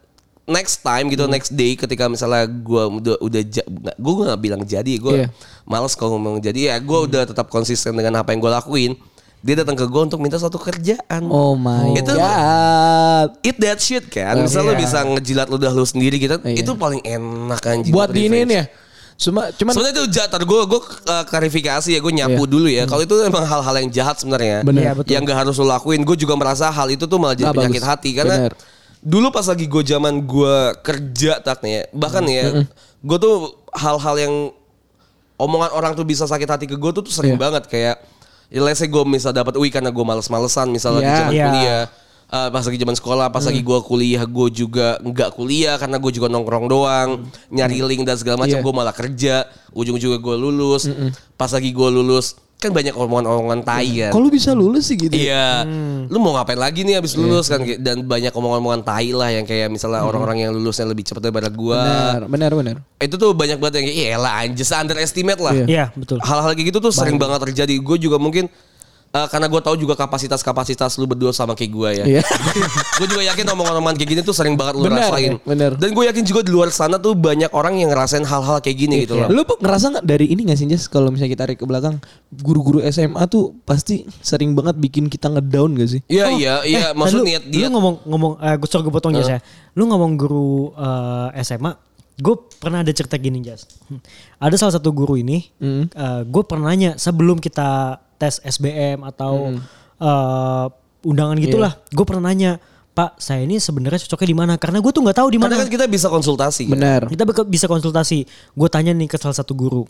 Speaker 2: next time gitu next day ketika misalnya gue udah udah gue nggak bilang jadi gue
Speaker 3: Iya.
Speaker 2: males kalau ngomong jadi ya gue udah tetap konsisten dengan apa yang gue lakuin dia datang ke gue untuk minta satu kerjaan
Speaker 3: Oh my
Speaker 2: Itu-
Speaker 3: god.
Speaker 2: eat that shit kan misal lu
Speaker 4: Iya.
Speaker 2: bisa ngejilat ludah lu sendiri gitu
Speaker 3: Iya.
Speaker 2: itu paling enak anjing
Speaker 3: buat di ini
Speaker 2: revenge.
Speaker 3: ya. Cuma cuman
Speaker 2: sebenarnya itu jahat gue gue klarifikasi ya gue nyapu
Speaker 3: Iya.
Speaker 2: dulu ya kalau itu emang hal-hal yang jahat sebenarnya
Speaker 3: Bener.
Speaker 4: Iya, betul.
Speaker 2: yang gak harus lo lakuin gue juga merasa hal itu tuh malah jadi
Speaker 3: Nggak
Speaker 2: penyakit
Speaker 3: bagus.
Speaker 2: hati karena
Speaker 3: Bener.
Speaker 2: dulu pas lagi gue zaman gue kerja tak nih ya, bahkan ya
Speaker 3: Hmm.
Speaker 2: gue tuh hal-hal yang omongan orang tuh bisa sakit hati ke gue tuh, tuh sering
Speaker 3: Iya.
Speaker 2: banget kayak ya let's say gue misal dapat UI karena gue males-malesan misalnya di
Speaker 3: Iya. Hmm.
Speaker 2: zaman
Speaker 4: Iya.
Speaker 2: kuliah Eh, pas lagi zaman sekolah, pas lagi gue kuliah, gue juga nggak kuliah karena gue juga nongkrong doang, nyari link dan segala macam.
Speaker 3: Hmm. Iya.
Speaker 2: Gue malah kerja, ujung-ujungnya gue lulus. Pas lagi gue lulus, kan banyak omongan-omongan tai kan.
Speaker 3: kalau bisa lulus sih gitu. ya?
Speaker 2: Iya. Lu mau ngapain lagi nih
Speaker 3: Iya.
Speaker 2: abis lulus kan dan banyak omongan-omongan tai lah yang kayak misalnya orang-orang yang lulusnya lebih cepat daripada gua.
Speaker 3: Hmm. Benar, benar, benar.
Speaker 2: Itu tuh banyak banget yang kayak "Ih, elah anjir underestimate lah.
Speaker 3: Iya.
Speaker 4: Iya, betul.
Speaker 2: Hal-hal kayak gitu tuh sering banget terjadi. Gue juga mungkin eh, karena gue tahu juga kapasitas-kapasitas lu berdua sama kayak gue ya.
Speaker 3: Iya.
Speaker 2: gue juga yakin omongan-omongan kayak gini tuh sering banget lu
Speaker 3: Benar,
Speaker 2: rasain.
Speaker 3: benar.
Speaker 2: Dan gue yakin juga di luar sana tuh banyak orang yang ngerasain hal-hal kayak gini gitu loh.
Speaker 3: Lu Pak, ngerasa nggak dari ini nggak sih Jas kalau misalnya kita tarik ke belakang guru-guru SMA tuh pasti sering banget bikin kita ngedown gak sih?
Speaker 2: Iya
Speaker 4: Oh,
Speaker 2: iya
Speaker 4: eh,
Speaker 2: iya.
Speaker 4: eh,
Speaker 2: Maksud
Speaker 4: lu,
Speaker 2: niat dia.
Speaker 4: Lu ngomong ngomong eh gue sorry gue potong ya saya. Lu ngomong guru eh, SMA, gue pernah ada cerita gini Jas. Hmm. Ada salah satu guru ini,
Speaker 2: Hmm.
Speaker 4: gue pernah nanya sebelum kita tes SBM atau
Speaker 2: Hmm.
Speaker 4: eh, undangan gitulah,
Speaker 2: Iya.
Speaker 4: gue pernah nanya Pak, saya ini sebenarnya cocoknya di mana? Karena gue tuh nggak tahu di
Speaker 2: Karena
Speaker 4: mana.
Speaker 2: kan kita bisa konsultasi. kan?
Speaker 3: Benar.
Speaker 4: Nah. Kita beke- bisa konsultasi. Gue tanya nih ke salah satu guru,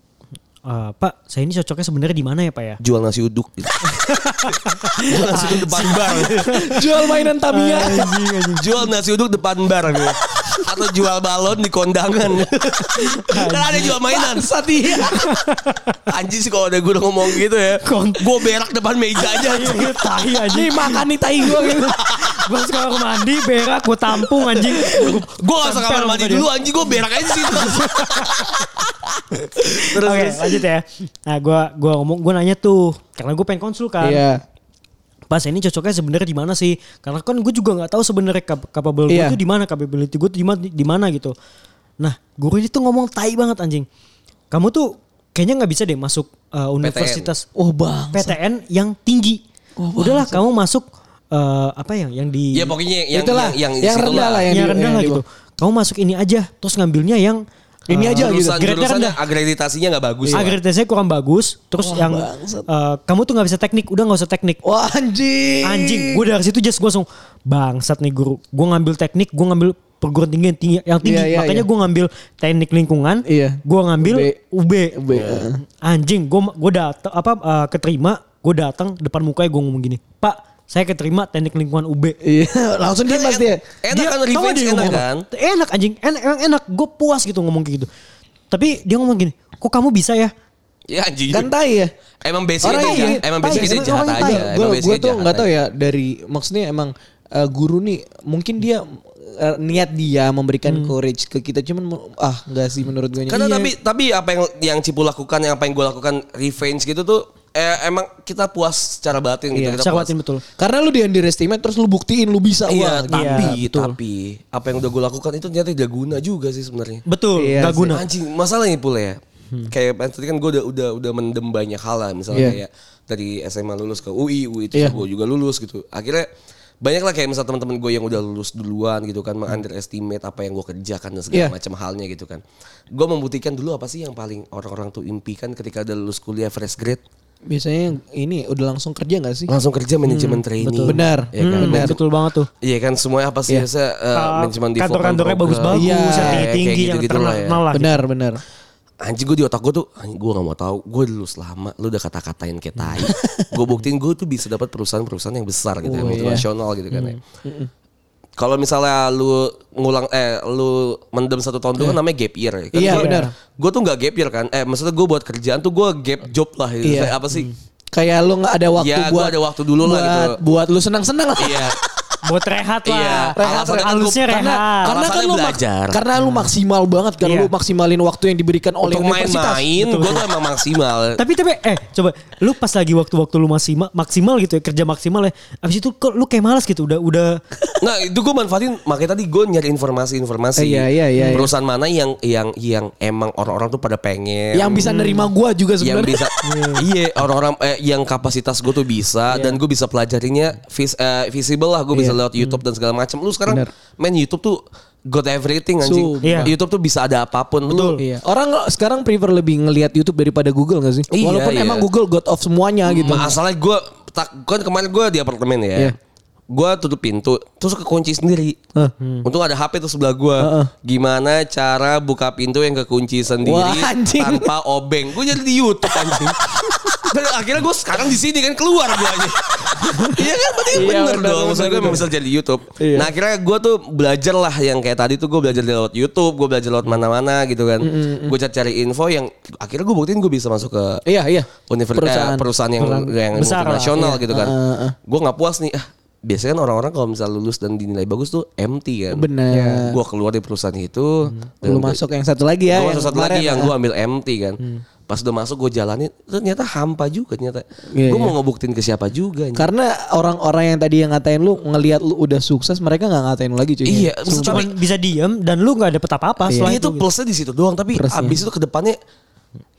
Speaker 4: "Eh, Pak, saya ini cocoknya sebenarnya di mana ya Pak ya?
Speaker 2: Jual nasi uduk gitu. Jual nasi uduk depan bar.
Speaker 4: Iya,
Speaker 3: Jual mainan Tamiya.
Speaker 2: Jual nasi uduk depan bar gitu. Atau jual balon di kondangan. Kan ada jual mainan. Sati. Anjing sih kalau ada gue ngomong gitu ya.
Speaker 4: Kon-
Speaker 2: Gue berak depan meja aja.
Speaker 4: Iya, tai aja.
Speaker 3: Nih makan nih tai gua gitu.
Speaker 4: Gue harus kamar mandi, berak, gue tampung anjing.
Speaker 2: Gue gak usah kamar
Speaker 4: Tempel
Speaker 2: mandi
Speaker 4: sama dia. Iya.
Speaker 2: dulu anjing gue berak aja sih.
Speaker 4: Oke lanjut ya. Nah gue gua ngomong, gue nanya tuh. Karena gue pengen konsul kan.
Speaker 3: Iya.
Speaker 4: Pas ini cocoknya sebenarnya di mana sih? Karena kan gue juga nggak tahu sebenarnya cap- capable gue
Speaker 3: Iya.
Speaker 4: tuh di mana, capability gue tuh di mana- di mana gitu. Nah, guru ini tuh ngomong tai banget anjing. Kamu tuh kayaknya nggak bisa deh masuk uh, universitas
Speaker 3: Oh bang.
Speaker 4: PTN yang tinggi. Udahlah kamu masuk uh, apa yang yang di
Speaker 2: Ya pokoknya yang
Speaker 3: Itulah,
Speaker 2: yang,
Speaker 3: yang
Speaker 2: situ
Speaker 3: rendah lah,
Speaker 4: yang,
Speaker 3: Iya, yang di-
Speaker 4: rendah
Speaker 3: yang
Speaker 4: lah
Speaker 3: di
Speaker 4: gitu. Kamu masuk ini aja, terus ngambilnya yang
Speaker 3: Ini aja gitu.
Speaker 2: Jurusan,
Speaker 4: Grade-nya
Speaker 2: jurusannya
Speaker 4: rendah.
Speaker 2: akreditasinya gak bagus. lah.
Speaker 4: Akreditasinya kurang bagus, terus yang uh, kamu tuh nggak bisa teknik, udah nggak usah teknik.
Speaker 3: Wah anjing.
Speaker 4: Anjing, gue dari situ just gue langsung bangsat nih guru. Gue ngambil teknik, gue ngambil perguruan tinggi yang tinggi, yang tinggi.
Speaker 3: Iya, iya,
Speaker 4: makanya
Speaker 3: iya.
Speaker 4: gue ngambil teknik lingkungan.
Speaker 3: Iya.
Speaker 4: Gue ngambil UB.
Speaker 3: UB,
Speaker 2: eh.
Speaker 3: heeh.
Speaker 4: Anjing, gue gue datang apa uh, keterima, gue datang depan mukanya gue ngomong gini, Pak, saya keterima teknik lingkungan UB.
Speaker 3: Iya. Langsung dia pasti ya.
Speaker 2: Enak
Speaker 4: Dia-
Speaker 2: kan
Speaker 4: tau gak
Speaker 2: revenge
Speaker 4: dia
Speaker 2: enak
Speaker 4: ngomong apa?
Speaker 2: kan.
Speaker 4: Enak anjing, enak, emang enak. Gue puas gitu ngomong kayak gitu. Tapi dia ngomong gini, kok kamu bisa ya?
Speaker 2: Ya anjing.
Speaker 3: Kan tai ya.
Speaker 2: Emang basicnya
Speaker 3: Orang
Speaker 2: dia
Speaker 3: yang iya.
Speaker 2: jahat. Iya, Emang basicnya dia jahat
Speaker 3: orang
Speaker 2: aja.
Speaker 3: Gue
Speaker 2: Emang
Speaker 3: gue
Speaker 2: basicnya
Speaker 3: tuh
Speaker 2: jahat
Speaker 3: nggak tahu
Speaker 2: aja.
Speaker 3: ya dari maksudnya emang eh, guru nih mungkin dia eh, niat dia memberikan courage ke kita cuman mau- ah nggak sih menurut Iya. gue.
Speaker 2: Hmm. Karena tapi tapi apa yang yang Cipu lakukan, yang apa yang gue lakukan revenge gitu tuh eh, ememang kita puas secara batin gitu.
Speaker 3: Iya,
Speaker 2: kita
Speaker 4: Saya
Speaker 2: puas.
Speaker 4: kuatin betul.
Speaker 3: karena lu di underestimate terus lu buktiin lu bisa
Speaker 2: Iya,
Speaker 3: wah. gitu.
Speaker 2: tapi
Speaker 4: Iya, betul.
Speaker 2: tapi apa yang udah gue lakukan itu ternyata tidak guna juga sih sebenarnya.
Speaker 4: Betul,
Speaker 3: Iya sih.
Speaker 4: gak guna.
Speaker 2: Anjing, masalahnya pula ya. Kayak tadi kan gue udah udah udah mendem banyak hal lah misalnya
Speaker 3: Hmm. Iya.
Speaker 2: kayak dari SMA lulus ke UI, UI itu
Speaker 3: Iya.
Speaker 2: gue juga lulus gitu. Akhirnya banyak lah kayak misal teman-teman gue yang udah lulus duluan gitu kan underestimate apa yang gue kerjakan dan segala
Speaker 3: Iya.
Speaker 2: macam halnya gitu kan. Gue membuktikan dulu apa sih yang paling orang-orang tuh impikan ketika udah lulus kuliah fresh grade
Speaker 3: Biasanya yang ini udah langsung kerja nggak sih?
Speaker 2: langsung kerja manajemen training.
Speaker 3: Iya. Hmm, Benar.
Speaker 2: Iya kan?
Speaker 4: Hmm, betul banget tuh.
Speaker 2: Iya kan semuanya apa sih biasa eh,
Speaker 4: Ah,
Speaker 2: manajemen di
Speaker 4: kantor-kantornya
Speaker 2: vokal program.
Speaker 4: bagus-bagus,
Speaker 3: Iya,
Speaker 4: yang
Speaker 2: kayak
Speaker 4: tinggi-tinggi, yang
Speaker 2: gitu-gitu lah ya.
Speaker 4: terkenal lah.
Speaker 3: Benar benar.
Speaker 2: Anjing gue di otak gue tuh anjing gue gak mau tahu gue lulus lama lu udah kata-katain kayak tai gue buktiin gue tuh bisa dapat perusahaan-perusahaan yang besar
Speaker 3: Oh,
Speaker 2: gitu ya,
Speaker 3: iya.
Speaker 2: multinasional gitu kan ya
Speaker 3: Hmm,
Speaker 2: kalau misalnya lu ngulang eh lu mendem satu tahun dulu kan namanya gap year ya. Kan
Speaker 3: Iya,
Speaker 2: gua-
Speaker 3: benar.
Speaker 2: gue tuh nggak gap year kan eh maksudnya gue buat kerjaan tuh gue gap job lah gitu.
Speaker 3: Iya.
Speaker 2: Kayak apa sih
Speaker 3: Kayak lu nggak ada waktu
Speaker 2: Ya, gua
Speaker 3: buat
Speaker 2: ada waktu dulu lah
Speaker 3: buat-
Speaker 2: gitu.
Speaker 3: Buat lu senang-senang lah.
Speaker 2: iya
Speaker 4: Buat rehat lah.
Speaker 2: Iya.
Speaker 4: Rehat,
Speaker 2: Alasannya kan
Speaker 4: halusnya
Speaker 2: gua-
Speaker 4: rehat.
Speaker 3: karena kan
Speaker 2: Alasannya
Speaker 3: lu mak-
Speaker 2: belajar. Hmm.
Speaker 3: karena lu maksimal banget kan
Speaker 4: Iya.
Speaker 3: lu maksimalin waktu yang diberikan oleh
Speaker 2: untuk
Speaker 3: universitas.
Speaker 2: main-main
Speaker 4: Betul,
Speaker 2: gue tuh emang maksimal
Speaker 4: Tapi tapi eh coba lu pas lagi waktu-waktu lu maksimal maksimal gitu ya kerja maksimal ya. Abis itu kok lu kayak malas gitu udah udah
Speaker 2: Nah itu gue manfaatin makanya tadi gue nyari informasi-informasi
Speaker 3: Iya, iya, iya, iya.
Speaker 2: perusahaan mana yang yang yang emang orang-orang tuh pada pengen
Speaker 3: Yang bisa nerima gua juga
Speaker 2: Hmm. yang bisa
Speaker 3: sebenarnya.
Speaker 2: iya orang-orang eh, yang kapasitas gue tuh bisa
Speaker 3: Iya.
Speaker 2: dan gue bisa pelajarinya vis, eh, visible lah gue bisa lewat YouTube dan segala macam lu sekarang
Speaker 3: Bener.
Speaker 2: main YouTube tuh got everything anjing
Speaker 3: Sumpah.
Speaker 4: Iya.
Speaker 2: YouTube tuh bisa ada apapun Betul.
Speaker 3: Iya. Orang sekarang prefer lebih ngelihat YouTube daripada Google gak sih?
Speaker 2: Iya,
Speaker 3: Walaupun
Speaker 2: iya. Hmm.
Speaker 3: emang Google god of semuanya gitu.
Speaker 2: masalahnya gue tak kan kemarin gue di apartemen ya
Speaker 3: Iya.
Speaker 2: Gue tutup pintu, terus kekunci sendiri.
Speaker 3: Hah.
Speaker 2: Untung ada HP tuh sebelah gue. Gimana cara buka pintu yang kekunci sendiri
Speaker 3: Wah, anjing.
Speaker 2: tanpa obeng? Gue jadi di YouTube anjing. Dan akhirnya gue sekarang di sini kan keluar gue aja. Iya kan berarti
Speaker 3: Iya,
Speaker 2: bener,
Speaker 3: benar,
Speaker 2: dong. Maksud
Speaker 3: benar,
Speaker 2: gue
Speaker 3: benar.
Speaker 2: bisa jadi YouTube.
Speaker 3: Iya.
Speaker 2: Nah akhirnya gue tuh belajar lah yang kayak tadi tuh gue belajar lewat YouTube, gue belajar lewat mana-mana gitu kan. Gue cari info yang akhirnya gue buktiin gue bisa masuk ke
Speaker 3: Iya, iya.
Speaker 2: Univers- eh, perusahaan,
Speaker 3: Perusahaan. iya.
Speaker 2: yang yang
Speaker 4: Besar lah,
Speaker 2: multinasional gitu kan.
Speaker 3: Heeh, heeh.
Speaker 2: Gue nggak puas nih. Ah, biasanya kan orang-orang kalau misalnya lulus dan dinilai bagus tuh MT kan.
Speaker 3: Bener. Hmm.
Speaker 2: Gue keluar dari perusahaan itu. dan
Speaker 3: Lu
Speaker 2: gua-
Speaker 3: masuk yang satu lagi ya.
Speaker 2: gua
Speaker 3: yang
Speaker 2: masuk satu
Speaker 3: kemarin, Hmm.
Speaker 2: lagi yang
Speaker 3: ah.
Speaker 2: gue ambil MT kan. Pas udah masuk gue jalanin ternyata hampa juga ternyata.
Speaker 3: Iya,
Speaker 2: gue mau
Speaker 3: iya.
Speaker 2: ngebuktiin ke siapa juga. anjing.
Speaker 3: Karena orang-orang yang tadi yang ngatain lu ngelihat lu udah sukses, mereka nggak ngatain lu lagi cuy.
Speaker 2: Iya, maksud
Speaker 4: cuma
Speaker 2: tapi-
Speaker 4: bisa diem dan lu nggak dapet apa-apa
Speaker 2: Dia Iya. itu
Speaker 4: selain itu. gitu.
Speaker 2: plusnya di situ doang tapi
Speaker 3: Plusnya. Ya,
Speaker 2: abis itu ke depannya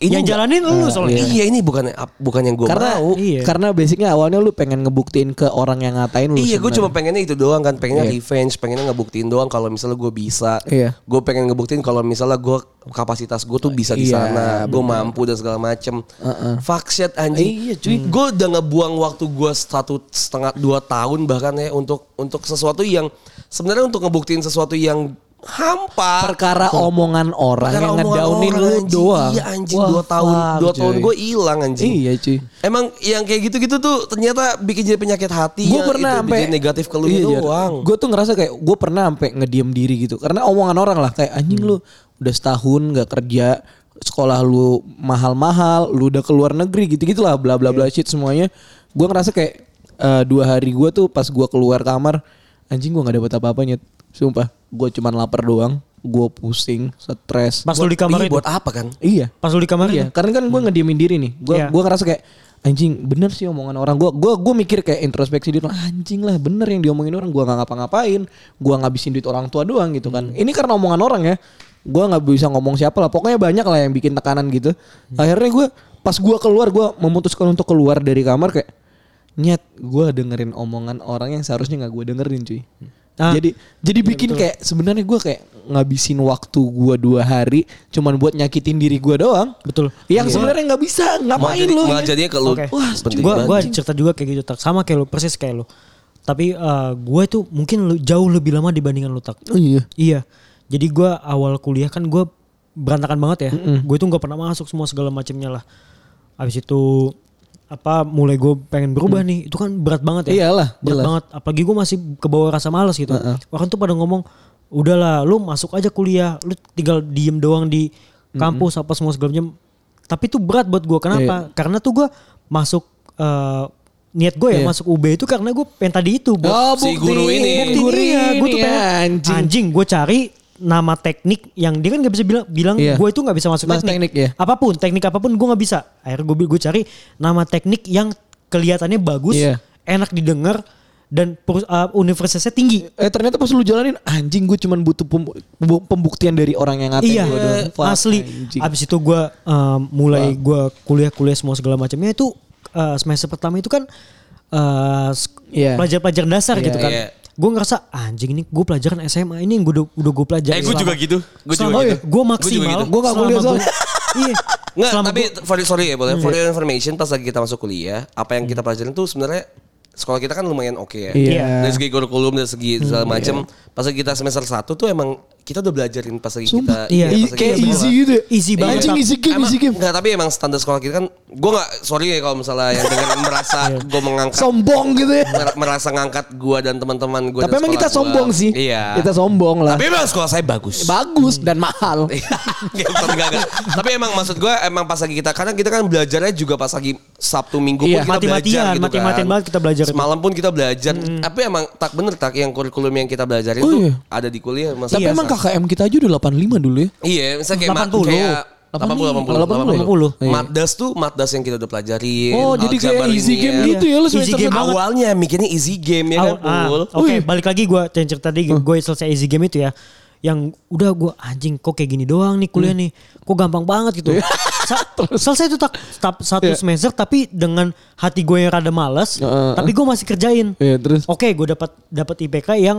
Speaker 2: ini
Speaker 4: Yang
Speaker 2: nggak-
Speaker 4: jalanin lu soalnya.
Speaker 2: Iya ini bukan bukan yang gue
Speaker 3: Karena
Speaker 2: mau.
Speaker 4: Iya.
Speaker 3: karena basicnya awalnya lu pengen ngebuktiin ke orang yang ngatain lu.
Speaker 2: Iya, gue cuma
Speaker 3: sebenarnya.
Speaker 2: pengennya itu doang kan, pengennya
Speaker 3: Iya.
Speaker 2: revenge, pengennya ngebuktiin doang kalau misalnya gue bisa.
Speaker 3: Iya.
Speaker 2: Gue pengen ngebuktiin kalau misalnya gue kapasitas gue tuh bisa di
Speaker 3: Iya, Uh-uh.
Speaker 2: sana, gue mampu dan segala macem. Fuck shit anjing.
Speaker 3: Iya, cuy.
Speaker 2: Gue udah ngebuang waktu gue satu setengah dua tahun bahkan ya untuk untuk sesuatu yang sebenarnya untuk ngebuktiin sesuatu yang hampa.
Speaker 3: perkara omongan orang
Speaker 2: Karena
Speaker 3: yang
Speaker 2: omongan
Speaker 3: ngedaunin
Speaker 2: orang,
Speaker 3: lu
Speaker 2: anjing.
Speaker 3: doang.
Speaker 2: Iya anjing
Speaker 3: Wah,
Speaker 2: dua tahun,
Speaker 3: fuck,
Speaker 2: dua
Speaker 3: cuy.
Speaker 2: tahun gue hilang anjing.
Speaker 3: Iya cuy.
Speaker 2: Emang yang kayak gitu-gitu tuh ternyata bikin jadi penyakit hati.
Speaker 3: Gue
Speaker 2: yang Iya,
Speaker 3: pernah
Speaker 2: itu
Speaker 3: sampai Iya,
Speaker 2: bikin negatif ke lu gitu. doang.
Speaker 3: Gue tuh ngerasa kayak gue pernah sampai ngediam diri gitu karena omongan orang lah kayak
Speaker 2: Hmm.
Speaker 3: anjing lu udah setahun nggak kerja sekolah lu mahal-mahal, lu udah keluar negeri gitu-gitulah
Speaker 2: Iya.
Speaker 3: bla bla bla shit semuanya. Gue ngerasa kayak eh, dua hari gue tuh pas gue keluar kamar anjing gua nggak dapat apa-apanya sumpah gua cuman lapar doang gua pusing stres
Speaker 4: Pas lu di kamar
Speaker 2: Iya,
Speaker 4: itu.
Speaker 2: buat apa kan?
Speaker 3: iya
Speaker 4: Pas lu di kamar ya.
Speaker 3: Iya,
Speaker 4: itu.
Speaker 3: karena kan gue ngediamin diri nih. Gue
Speaker 4: Hmm. Iya.
Speaker 3: gua ngerasa kayak anjing bener sih omongan orang. Gue gua gua mikir kayak introspeksi diri anjing lah bener yang diomongin orang. Gue nggak ngapa-ngapain. Gue ngabisin duit orang tua doang gitu
Speaker 4: Hmm.
Speaker 3: kan. Ini karena omongan orang ya. Gue nggak bisa ngomong siapa lah. Pokoknya banyak lah yang bikin tekanan gitu.
Speaker 4: Hmm.
Speaker 3: Akhirnya gue pas gue keluar gue memutuskan untuk keluar dari kamar kayak nyet gue dengerin omongan orang yang seharusnya nggak gue dengerin cuy.
Speaker 4: Ah.
Speaker 3: Jadi jadi bikin kayak sebenarnya gue kayak ngabisin waktu gue dua hari cuman buat nyakitin diri gue doang.
Speaker 4: Betul.
Speaker 3: Yang sebenarnya nggak bisa ngapain
Speaker 2: jadi-
Speaker 3: lu.
Speaker 2: malah jadinya ke Iya, lu.
Speaker 4: Iya. Oke.
Speaker 2: Wah, penting
Speaker 4: gua, gua
Speaker 2: banget.
Speaker 4: cerita juga kayak gitu tak sama kayak lu persis kayak lu tapi eh, gua itu mungkin lu- jauh lebih lama dibandingkan lu tak
Speaker 3: Oh iya.
Speaker 4: iya jadi gua awal kuliah kan gua berantakan banget ya gue itu nggak pernah masuk semua segala macamnya lah abis itu apa mulai gue pengen berubah nih itu kan berat banget ya
Speaker 3: Mm. Iyalah,
Speaker 4: berat
Speaker 3: jelas.
Speaker 4: banget apalagi gue masih ke bawah rasa malas gitu orang tuh pada ngomong udahlah lu masuk aja kuliah lu tinggal diem doang di kampus apa semua segala macam tapi itu berat buat gue kenapa
Speaker 3: Iya.
Speaker 4: karena tuh gue masuk eh, niat gue ya
Speaker 3: Iya.
Speaker 4: masuk UB itu karena gue pengen tadi itu buat
Speaker 3: Oh,
Speaker 2: Si guru ini.
Speaker 3: buktiin.
Speaker 4: Buktiin iya, gue tuh
Speaker 3: ini
Speaker 4: pengen anjing,
Speaker 3: anjing.
Speaker 4: gue cari nama teknik yang dia kan nggak bisa bilang bilang
Speaker 3: Iya.
Speaker 4: gue itu nggak bisa masuk
Speaker 3: Mas
Speaker 4: teknik,
Speaker 3: teknik, ya.
Speaker 4: apapun teknik apapun gue nggak bisa akhirnya gue gue cari nama teknik yang kelihatannya bagus
Speaker 3: Iya.
Speaker 4: enak didengar dan perus- uh, universitasnya tinggi
Speaker 3: Eh ternyata pas lu jalanin anjing gue cuman butuh pem- bu- pembuktian dari orang yang ngatain
Speaker 4: iya
Speaker 3: gua doang. Fuck,
Speaker 4: asli
Speaker 3: anjing.
Speaker 4: abis itu gue mulai gue kuliah kuliah semua segala macamnya itu uh, semester pertama itu kan uh, sk-
Speaker 3: Iya.
Speaker 4: pelajar-pelajar dasar
Speaker 3: Iya,
Speaker 4: gitu kan
Speaker 2: iya.
Speaker 4: gue ngerasa "Ah, anjing ini gue pelajaran SMA ini yang gue udah, udah gue pelajari
Speaker 2: Eh, gue
Speaker 4: selama-
Speaker 2: juga gitu. Gue juga
Speaker 4: selama
Speaker 2: gitu.
Speaker 4: gue
Speaker 2: Gua juga
Speaker 4: Oh, iya. maksimal.
Speaker 2: gitu.
Speaker 3: Gua nggak
Speaker 4: selama
Speaker 3: kuliah
Speaker 4: gua-
Speaker 3: soalnya.
Speaker 4: Iya.
Speaker 2: Nggak,
Speaker 4: Selama
Speaker 2: tapi
Speaker 4: gua-
Speaker 2: for, sorry ya boleh. For your information pas lagi kita masuk kuliah, apa yang kita pelajarin tuh sebenarnya sekolah kita kan lumayan oke ya.
Speaker 3: Iya.
Speaker 2: Dari segi kurikulum, dari segi segala macam. Pas lagi kita semester 1 tuh emang kita udah belajarin pas lagi
Speaker 3: Sumpah,
Speaker 2: kita
Speaker 4: iya.
Speaker 2: pas
Speaker 3: I-
Speaker 2: lagi
Speaker 3: kayak
Speaker 2: kita
Speaker 3: easy
Speaker 2: sekolah.
Speaker 3: gitu. ya.
Speaker 4: Easy banget.
Speaker 3: Anjing easy game,
Speaker 2: Emang-
Speaker 3: easy game.
Speaker 2: Enggak, tapi emang standar sekolah kita kan gue nggak sorry ya kalau misalnya yang dengan merasa gue mengangkat
Speaker 3: Sombong gitu ya.
Speaker 2: mer- merasa ngangkat gue dan teman-teman gue.
Speaker 3: Tapi emang kita sombong sih.
Speaker 2: Iya.
Speaker 3: Kita sombong lah.
Speaker 2: Tapi emang sekolah saya bagus.
Speaker 3: Bagus dan mahal.
Speaker 2: Iya, tapi enggak, enggak. Tapi emang maksud gue emang pas lagi kita karena kita kan belajarnya juga pas lagi Sabtu Minggu pun
Speaker 3: Iya.
Speaker 2: kita
Speaker 4: Mati-matian,
Speaker 2: belajar gitu
Speaker 4: mati-matian
Speaker 2: kan.
Speaker 4: banget kita belajar itu.
Speaker 2: Semalam pun kita belajar. Tapi emang tak bener tak yang kurikulum yang kita belajarin
Speaker 3: Oh,
Speaker 2: tuh
Speaker 3: iya.
Speaker 2: ada di kuliah Mas.
Speaker 3: Tapi
Speaker 2: Iya,
Speaker 3: emang
Speaker 2: Mas.
Speaker 3: KKM kita aja udah 85 dulu ya.
Speaker 2: Iya, misalnya kayak mat-
Speaker 4: 80.
Speaker 2: kayak 80
Speaker 4: 80.
Speaker 2: 80
Speaker 3: Iya.
Speaker 2: Matdas tuh matdas yang kita udah pelajarin.
Speaker 3: Oh, jadi kayak
Speaker 2: aljabar
Speaker 3: easy
Speaker 2: Iya, ini
Speaker 3: game
Speaker 2: ya.
Speaker 3: gitu ya lu
Speaker 4: Easy
Speaker 3: semester
Speaker 4: game
Speaker 3: satu.
Speaker 4: banget.
Speaker 2: Awalnya mikirnya easy game ya kan,
Speaker 4: Awal- ah,
Speaker 2: Bul.
Speaker 4: Oke, balik lagi gue cerita tadi gue selesai easy game itu ya. Yang udah gue anjing kok kayak gini doang nih kuliah
Speaker 2: Hmm.
Speaker 4: nih. Kok gampang banget
Speaker 2: Iya.
Speaker 4: gitu. Sa- selesai itu tak tap- satu
Speaker 3: Iya.
Speaker 4: semester tapi dengan hati gue yang rada malas,
Speaker 3: Heeh.
Speaker 4: tapi gue masih kerjain.
Speaker 3: Iya, terus?
Speaker 4: Oke, gue dapat dapat IPK yang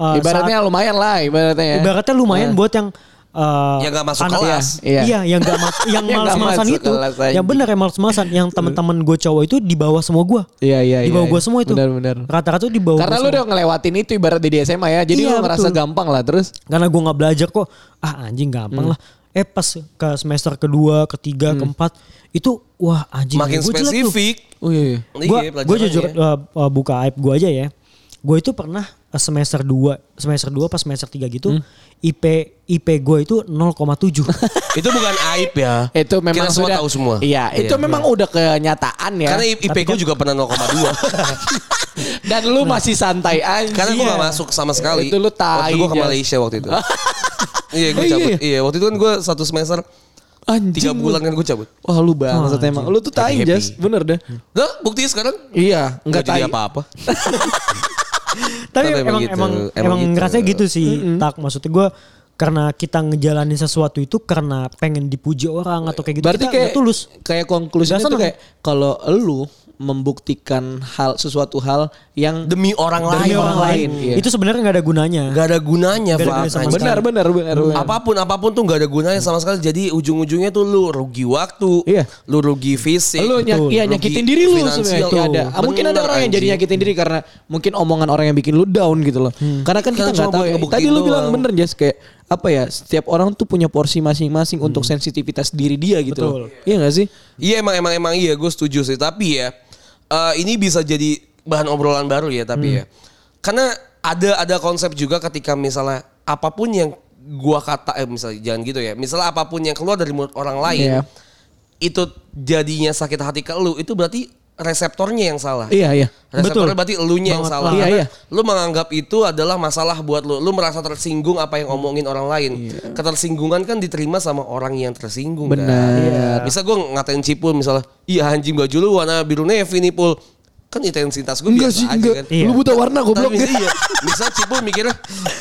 Speaker 4: uh, saat-
Speaker 3: Ibaratnya lumayan lah ibaratnya ya.
Speaker 4: Ibaratnya lumayan buat yang eh,
Speaker 2: Yang nggak masuk
Speaker 4: anak-
Speaker 2: kelas.
Speaker 4: Iya,
Speaker 3: Iya.
Speaker 4: yang gak ma- yang
Speaker 3: Yang nggak
Speaker 4: malas-malasan
Speaker 3: masuk
Speaker 4: itu.
Speaker 3: kelas aja.
Speaker 4: Yang benar yang malas-malasan, yang teman-teman gue cowok itu di bawah semua gue.
Speaker 3: Iya, iya,
Speaker 4: Di bawah
Speaker 3: iya,
Speaker 4: gue
Speaker 3: iya.
Speaker 4: semua itu.
Speaker 3: Benar, benar.
Speaker 4: Rata-rata di bawah.
Speaker 3: Karena
Speaker 4: gua
Speaker 3: lu
Speaker 4: semua.
Speaker 3: udah ngelewatin itu ibarat di SMA ya. Jadi
Speaker 4: Iya,
Speaker 3: lu ngerasa
Speaker 4: betul.
Speaker 3: gampang lah terus.
Speaker 4: Karena gue nggak belajar kok. Ah anjing gampang lah. Eh pas ke semester kedua, ketiga, keempat itu wah anjing.
Speaker 2: Makin
Speaker 4: gua jelek tuh.
Speaker 2: spesifik.
Speaker 3: Oh iya. iya.
Speaker 4: Gua
Speaker 2: Iya,
Speaker 4: gua jujur
Speaker 2: pelajarannya.
Speaker 4: uh, uh, buka aib gue aja ya. Gue itu pernah uh, semester 2, semester 2 pas semester 3 gitu IP IP gue itu 0,7.
Speaker 2: itu bukan aib ya.
Speaker 3: Itu memang
Speaker 2: kita semua
Speaker 3: sudah
Speaker 2: tahu semua.
Speaker 3: Iya, itu memang udah kenyataan ya.
Speaker 2: Karena IP gue juga pernah 0,2.
Speaker 3: Dan lu masih santai aja.
Speaker 2: Nah. Karena gue gak masuk sama sekali.
Speaker 3: Iya. Itu lu
Speaker 2: Waktu
Speaker 3: tai,
Speaker 2: gue ke
Speaker 3: Jas.
Speaker 2: Malaysia waktu itu. iya gue
Speaker 3: Oh, iya,
Speaker 2: cabut.
Speaker 3: iya.
Speaker 2: Iya waktu itu kan gue satu semester
Speaker 3: Anjing
Speaker 2: tiga
Speaker 3: lu.
Speaker 2: bulan kan gue cabut.
Speaker 3: Wah lu bangsat emang. Lu tuh tai
Speaker 2: Happy-happy.
Speaker 3: jas, bener deh.
Speaker 2: Nah buktinya sekarang
Speaker 3: Iya,
Speaker 2: nggak
Speaker 3: enggak
Speaker 2: jadi
Speaker 3: tai.
Speaker 2: apa-apa.
Speaker 4: Tapi
Speaker 2: Tapi emang
Speaker 4: emang emang
Speaker 2: gitu,
Speaker 4: emang,
Speaker 2: emang gitu.
Speaker 4: ngerasanya gitu sih. Tak maksudnya gue karena kita ngejalanin sesuatu itu karena pengen dipuji orang atau kayak gitu.
Speaker 3: Berarti
Speaker 4: kita
Speaker 3: kayak
Speaker 4: nggak tulus.
Speaker 3: kayak konklusinya
Speaker 4: Nggak
Speaker 3: tuh
Speaker 4: seneng.
Speaker 3: kayak kalau lu membuktikan hal sesuatu hal yang
Speaker 2: Demi orang lain.
Speaker 3: Demi orang lain, iya.
Speaker 4: Itu sebenarnya nggak ada gunanya.
Speaker 2: Gak ada gunanya
Speaker 4: Nggak ada
Speaker 2: Pak.
Speaker 4: gunanya sama
Speaker 2: Anjing.
Speaker 4: sekali.
Speaker 3: benar benar benar. benar.
Speaker 2: Apapun apapun tuh nggak ada gunanya sama sekali. Jadi ujung-ujungnya tuh lu rugi waktu,
Speaker 3: Iya.
Speaker 2: lu rugi fisik,
Speaker 3: lu nyak, iya,
Speaker 2: rugi
Speaker 3: nyakitin diri lu
Speaker 2: finansial.
Speaker 3: sebenarnya itu ada. Ah, mungkin ada
Speaker 2: Bener,
Speaker 3: orang yang jadi
Speaker 2: anjing. Hmm.
Speaker 3: nyakitin diri karena mungkin omongan orang yang bikin lu down gitu loh. Karena kan
Speaker 2: Karena
Speaker 3: kita nggak
Speaker 2: cuma
Speaker 3: tahu.
Speaker 2: buat
Speaker 3: ya.
Speaker 2: ngebuktiin
Speaker 3: Tadi lu bilang
Speaker 2: doang.
Speaker 3: bener Jas kayak apa ya? Setiap orang tuh punya porsi masing-masing
Speaker 2: Hmm.
Speaker 3: untuk sensitivitas diri dia gitu loh.
Speaker 4: Betul.
Speaker 3: Iya gak sih?
Speaker 2: Iya emang emang emang iya gue setuju sih tapi ya eh, ini bisa jadi bahan obrolan baru ya tapi ya karena ada ada konsep juga ketika misalnya apapun yang gua kata eh misalnya jangan gitu ya misalnya apapun yang keluar dari mulut orang lain
Speaker 3: Iya.
Speaker 2: itu jadinya sakit hati ke lu itu berarti reseptornya yang salah.
Speaker 3: Iya iya.
Speaker 2: Reseptornya
Speaker 4: Betul.
Speaker 2: berarti elunya yang
Speaker 4: Banget
Speaker 2: salah.
Speaker 3: banget.
Speaker 2: Karena
Speaker 3: Iya,
Speaker 2: Lu menganggap itu adalah masalah buat lu. Lu merasa tersinggung apa yang omongin orang lain. Ketersinggungan kan diterima sama orang yang tersinggung kan?
Speaker 3: Iya. Benar.
Speaker 2: Bisa gue ngatain Cipul misalnya, iya anjing baju lu warna biru navy nih Pul. Kan intensitas gue
Speaker 3: Enggak
Speaker 2: biasa
Speaker 3: sih
Speaker 2: aja
Speaker 3: enggak.
Speaker 2: kan.
Speaker 4: Iya.
Speaker 3: Lu buta warna goblok.
Speaker 2: Tapi iya, misal Cipul mikirnya,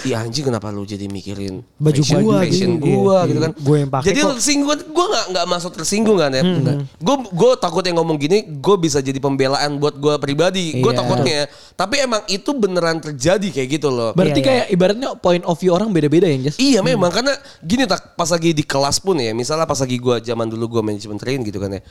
Speaker 2: iya anjing kenapa lu jadi mikirin
Speaker 4: Baju
Speaker 2: fashion,
Speaker 4: gua
Speaker 2: fashion
Speaker 4: gitu."
Speaker 2: gua
Speaker 4: Iya.
Speaker 2: gitu kan.
Speaker 4: Gua yang pakai
Speaker 2: Jadi
Speaker 4: kok. Hmm.
Speaker 2: lu tersinggung, gue gak, nggak masuk tersinggung kan ya. Gue gue takut yang ngomong gini, gue bisa jadi pembelaan buat gue pribadi. Gue
Speaker 3: Iya.
Speaker 2: takutnya. Tapi emang itu beneran terjadi kayak gitu loh.
Speaker 3: Berarti
Speaker 4: Iya, iya.
Speaker 3: kayak ibaratnya point of view orang beda-beda ya, Jas.
Speaker 2: Iya memang karena gini tak pas lagi di kelas pun ya misalnya pas lagi gua zaman dulu gua manajemen train gitu kan ya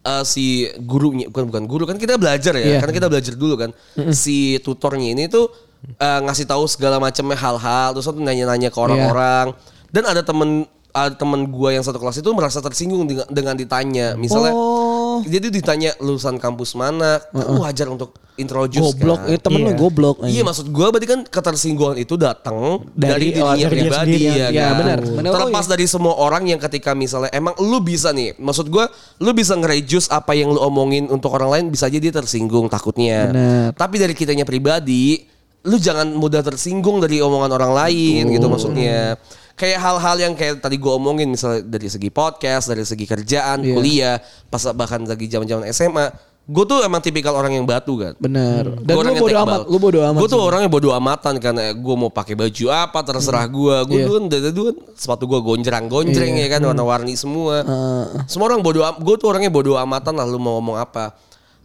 Speaker 2: Eh, si gurunya bukan bukan guru kan kita belajar ya
Speaker 3: Iya.
Speaker 2: karena kita belajar dulu kan si tutornya ini tuh eh, ngasih tahu segala macamnya hal-hal terus tuh nanya-nanya ke
Speaker 3: Iya.
Speaker 2: orang-orang dan ada temen ada temen gua yang satu kelas itu merasa tersinggung dengan, dengan ditanya misalnya
Speaker 3: Oh.
Speaker 2: jadi ditanya lulusan kampus mana kan wajar untuk introduce
Speaker 3: Goblok,
Speaker 2: kan?
Speaker 3: eh, temen lu
Speaker 4: Iya.
Speaker 3: goblok.
Speaker 2: Iya maksud gue berarti kan ketersinggungan itu datang dari,
Speaker 3: Dari
Speaker 2: dirinya
Speaker 3: orang
Speaker 4: dia
Speaker 2: pribadi
Speaker 4: sendiri,
Speaker 2: ya,
Speaker 3: ya,
Speaker 2: kan?
Speaker 3: benar. Benar,
Speaker 2: Terlepas dari semua orang yang ketika misalnya emang lu bisa nih, maksud gue lu bisa ngereduce apa yang lu omongin untuk orang lain bisa aja dia tersinggung takutnya.
Speaker 3: Benar.
Speaker 2: Tapi dari kitanya pribadi, lu jangan mudah tersinggung dari omongan orang lain gitu maksudnya. Kayak hal-hal yang kayak tadi gue omongin misalnya dari segi podcast, dari segi kerjaan,
Speaker 3: Iya.
Speaker 2: kuliah, pas bahkan lagi zaman-zaman SMA, gue tuh emang tipikal orang yang batu kan.
Speaker 3: Benar. Dan
Speaker 2: Gua
Speaker 3: lu
Speaker 2: orangnya
Speaker 3: bodo
Speaker 2: tebal.
Speaker 3: amat, lu bodo amat.
Speaker 2: Gua tuh orangnya bodo amatan karena gue mau pakai baju apa terserah gue. Gue
Speaker 3: Iya. Hmm.
Speaker 2: dulu kan dari dulu kan sepatu gue gonjrang-gonjreng ya kan warna-warni semua.
Speaker 3: Heeh.
Speaker 2: Semua orang bodo am- gue tuh orangnya bodo amatan lah lu mau ngomong apa.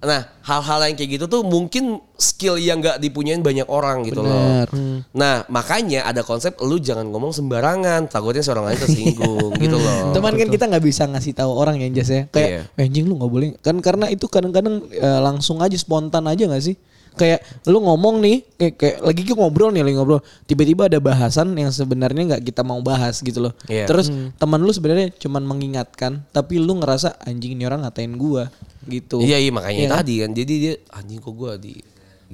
Speaker 2: Nah, hal-hal yang kayak gitu tuh mungkin skill yang gak dipunyain banyak orang gitu
Speaker 3: Benar.
Speaker 2: loh. Nah, makanya ada konsep lu jangan ngomong sembarangan, takutnya seorang lain tersinggung gitu loh.
Speaker 3: Teman kan kita nggak bisa ngasih tahu orang ya Jas ya.
Speaker 2: Iya.
Speaker 3: Kayak "Eh, anjing lu nggak boleh kan karena itu kadang-kadang eh, langsung aja spontan aja nggak sih? Kayak lu ngomong nih kayak, kayak lagi kita ngobrol nih lagi ngobrol tiba-tiba ada bahasan yang sebenarnya nggak kita mau bahas gitu loh.
Speaker 2: Iya.
Speaker 3: Terus teman lu sebenarnya cuman mengingatkan tapi lu ngerasa anjing ini orang ngatain gua gitu.
Speaker 2: Iya iya makanya
Speaker 3: Iya kan?
Speaker 2: tadi kan jadi dia anjing kok gue di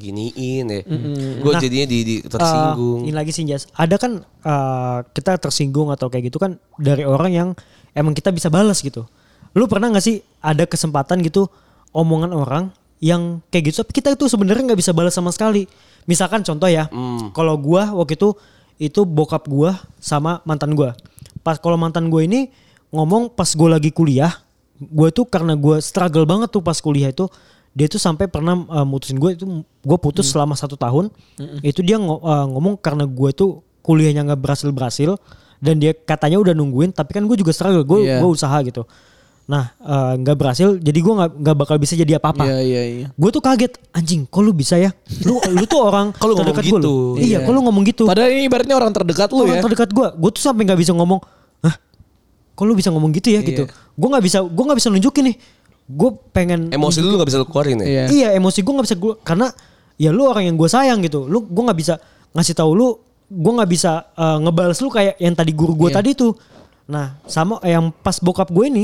Speaker 2: giniin ya.
Speaker 3: Hmm.
Speaker 2: Gue
Speaker 3: Nah.
Speaker 2: jadinya di,
Speaker 3: Ah,
Speaker 2: di- tersinggung.
Speaker 4: Eh, ini lagi sih Jas. Ada kan eh, kita tersinggung atau kayak gitu kan dari orang yang emang kita bisa balas gitu. Lu pernah gak sih ada kesempatan gitu omongan orang yang kayak gitu tapi kita itu sebenarnya nggak bisa balas sama sekali. Misalkan contoh ya, kalau gua waktu itu itu bokap gua sama mantan gua. Pas kalau mantan gua ini ngomong pas gua lagi kuliah, gua tuh karena gua struggle banget tuh pas kuliah itu dia tuh sampai pernah uh, mutusin gue itu gue putus
Speaker 2: Hmm.
Speaker 4: selama satu tahun itu dia ngo- uh, ngomong karena gue tuh kuliahnya nggak berhasil berhasil dan dia katanya udah nungguin tapi kan gue juga struggle gue
Speaker 3: Iya.
Speaker 4: gue usaha gitu nah uh, nggak berhasil jadi gue nggak nggak bakal bisa jadi apa apa
Speaker 3: Iya iya iya.
Speaker 4: gue tuh kaget anjing kok lu bisa ya lu lu tuh orang
Speaker 2: Kok lu ngomong
Speaker 4: terdekat gua lu.
Speaker 2: gitu?
Speaker 4: iya kok lu ngomong gitu
Speaker 3: Padahal ini ibaratnya orang terdekat lu ya.
Speaker 4: orang terdekat gue gue tuh sampai nggak bisa ngomong hah kok lu bisa ngomong gitu ya gitu
Speaker 3: Iya.
Speaker 4: gue nggak bisa gue nggak bisa nunjukin nih gue pengen
Speaker 2: Emosi lu gak bisa lu keluarin ya.
Speaker 3: Iya.
Speaker 4: Iya emosi gue nggak bisa gue karena ya lu orang yang gue sayang gitu. Lu gue nggak bisa ngasih tahu lu, gue nggak bisa eh, ngebales lu kayak yang tadi guru gue
Speaker 3: Iya.
Speaker 4: tadi tuh. Nah sama yang pas bokap gue ini,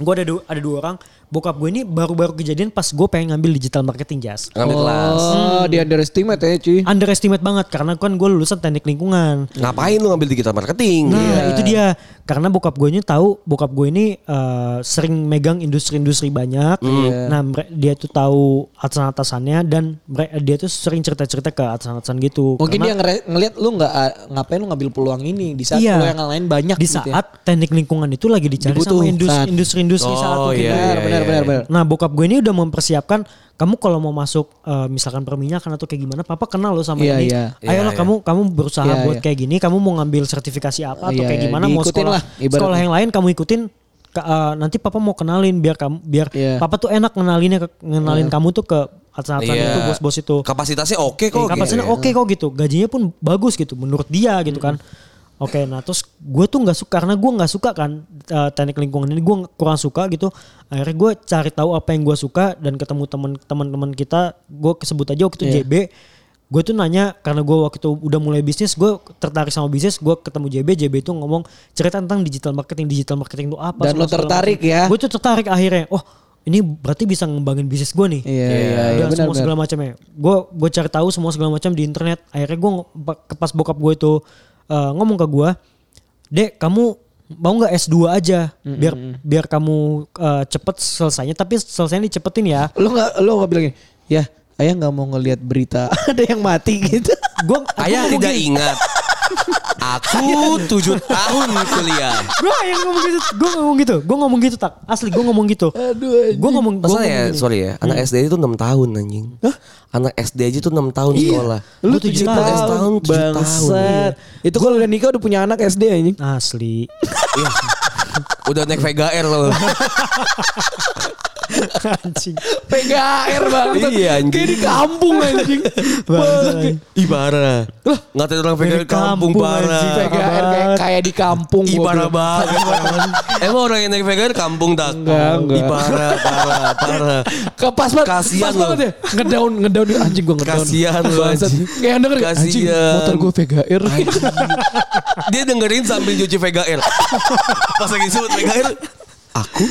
Speaker 4: gue ada dua, ada dua orang. Bokap gue ini baru-baru kejadian pas gue pengen ngambil digital marketing jas.
Speaker 2: Ngambil kelas.
Speaker 3: Oh, dia underestimate ya cuy.
Speaker 4: Underestimate banget karena kan gue lulusan teknik lingkungan.
Speaker 2: Ngapain lu ngambil digital marketing? Iya.
Speaker 4: Nah
Speaker 3: Iya.
Speaker 4: itu dia karena bokap gue ini tahu bokap gue ini eh, sering megang industri-industri banyak.
Speaker 3: Hmm.
Speaker 4: Nah mere- dia tuh tahu atasan-atasannya dan mere- dia tuh sering cerita-cerita ke atasan-atasan gitu.
Speaker 3: Mungkin
Speaker 4: Karena
Speaker 3: dia ngere- ngelihat lu nggak ah, ngapain lu ngambil peluang ini di saat
Speaker 4: Iya.
Speaker 3: peluang yang lain banyak
Speaker 4: di
Speaker 3: gitu ya.
Speaker 4: saat teknik lingkungan itu lagi dicari sama
Speaker 3: Dibutuhkan.
Speaker 4: industri- industri-industri saat
Speaker 2: Oh,
Speaker 4: itu.
Speaker 2: iya, iya,
Speaker 3: benar benar
Speaker 2: iya,
Speaker 3: benar
Speaker 2: iya.
Speaker 3: benar.
Speaker 4: Nah bokap gue ini udah mempersiapkan kamu kalau mau masuk eh, misalkan perminyakan atau kayak gimana, papa kenal lo sama
Speaker 3: Iya,
Speaker 4: ini.
Speaker 3: iya.
Speaker 4: Ayolah
Speaker 2: Iya,
Speaker 4: kamu kamu berusaha
Speaker 3: Iya,
Speaker 4: buat
Speaker 3: iya.
Speaker 4: kayak gini, kamu mau ngambil sertifikasi apa atau
Speaker 3: Iya,
Speaker 4: kayak
Speaker 3: iya,
Speaker 4: gimana, mau
Speaker 3: diikutin
Speaker 4: sekolah
Speaker 3: lah, ibaratnya.
Speaker 4: sekolah yang lain kamu ikutin. Ka- eh, nanti papa mau kenalin biar kamu biar
Speaker 3: Iya.
Speaker 4: papa tuh enak ngenalinnya ke- ngenalin kamu tuh ke atasan-atasan
Speaker 2: Iya.
Speaker 4: itu bos-bos itu.
Speaker 2: Kapasitasnya oke kok. gitu
Speaker 4: Kapasitasnya
Speaker 2: ya.
Speaker 4: oke kok gitu, gajinya pun bagus gitu menurut dia gitu kan.
Speaker 3: Hmm.
Speaker 4: Oke, nah terus gue tuh nggak suka karena gue nggak suka kan eh, teknik lingkungan ini gue kurang suka gitu. Akhirnya gue cari tahu apa yang gue suka dan ketemu teman-teman kita, gue sebut aja waktu itu
Speaker 3: Iya.
Speaker 4: JB. Gue tuh nanya karena gue waktu itu udah mulai bisnis, gue tertarik sama bisnis, gue ketemu JB, JB itu ngomong cerita tentang digital marketing, digital marketing itu apa?
Speaker 3: Dan lo tertarik ya?
Speaker 4: Gue tuh tertarik akhirnya. Oh, ini berarti bisa ngembangin bisnis gue nih
Speaker 3: Iya iya iya
Speaker 4: dan
Speaker 3: benar
Speaker 4: semua
Speaker 3: benar.
Speaker 4: segala macamnya. Gue gue cari tahu semua segala macam di internet. Akhirnya gue pas bokap gue itu eh, ngomong ke gue, dek kamu mau nggak S2 aja biar biar kamu eh, cepet selesainya tapi selesainya dicepetin ya
Speaker 3: Lo nggak lo nggak bilang ya ayah nggak mau ngelihat berita ada yang mati gitu.
Speaker 4: gue
Speaker 2: Ayah tidak ingat. Aku tujuh tahun kuliah.
Speaker 4: gue yang ngomong gitu gue ngomong gitu gue ngomong gitu tak asli gue ngomong gitu
Speaker 3: Aduh.
Speaker 4: gue ngomong gitu." gue
Speaker 2: Masalah ya, sorry ya. Anak SD itu 6 tahun anjing. Anak SD aja itu 6 tahun sekolah.
Speaker 4: Iya.
Speaker 3: Lu
Speaker 2: Gua
Speaker 3: tujuh
Speaker 2: tahun, tahun,
Speaker 3: tahun,
Speaker 2: 7 tahun.
Speaker 3: bangsat. Itu kalau udah nikah udah punya anak SD anjing.
Speaker 4: asli
Speaker 2: Iya. Udah naik Vega Air loh.
Speaker 4: anjing
Speaker 3: PGR banget.
Speaker 2: Iya, anjing.
Speaker 3: Kayak di kampung anjing.
Speaker 4: Bangsat.
Speaker 2: Ibarah. Lah, ngatain orang Vega
Speaker 4: Dari
Speaker 2: Air kampung
Speaker 4: kampung,
Speaker 2: parah.
Speaker 4: anjing, Vega.
Speaker 3: PGR kayak, kayak di kampung. gua
Speaker 2: Ibarah
Speaker 3: bilang.
Speaker 2: banget. Emang orang yang naik Vega Air kampung tak?
Speaker 3: Enggak, enggak.
Speaker 2: Ibarah, parah, parah.
Speaker 3: Ke pas banget.
Speaker 2: Kasian
Speaker 3: pas banget
Speaker 2: lu.
Speaker 3: ya. Ngedown, ngedown. Anjing gue ngedown.
Speaker 2: Kasihan lu
Speaker 3: Bangsat.
Speaker 2: anjing.
Speaker 3: Kayak yang denger. kayak, Anjing
Speaker 2: Kasihan.
Speaker 3: motor gue PGR.
Speaker 2: Anjing. Dia dengerin sambil cuci Vega Air. Pas lagi sebut Vega Air, aku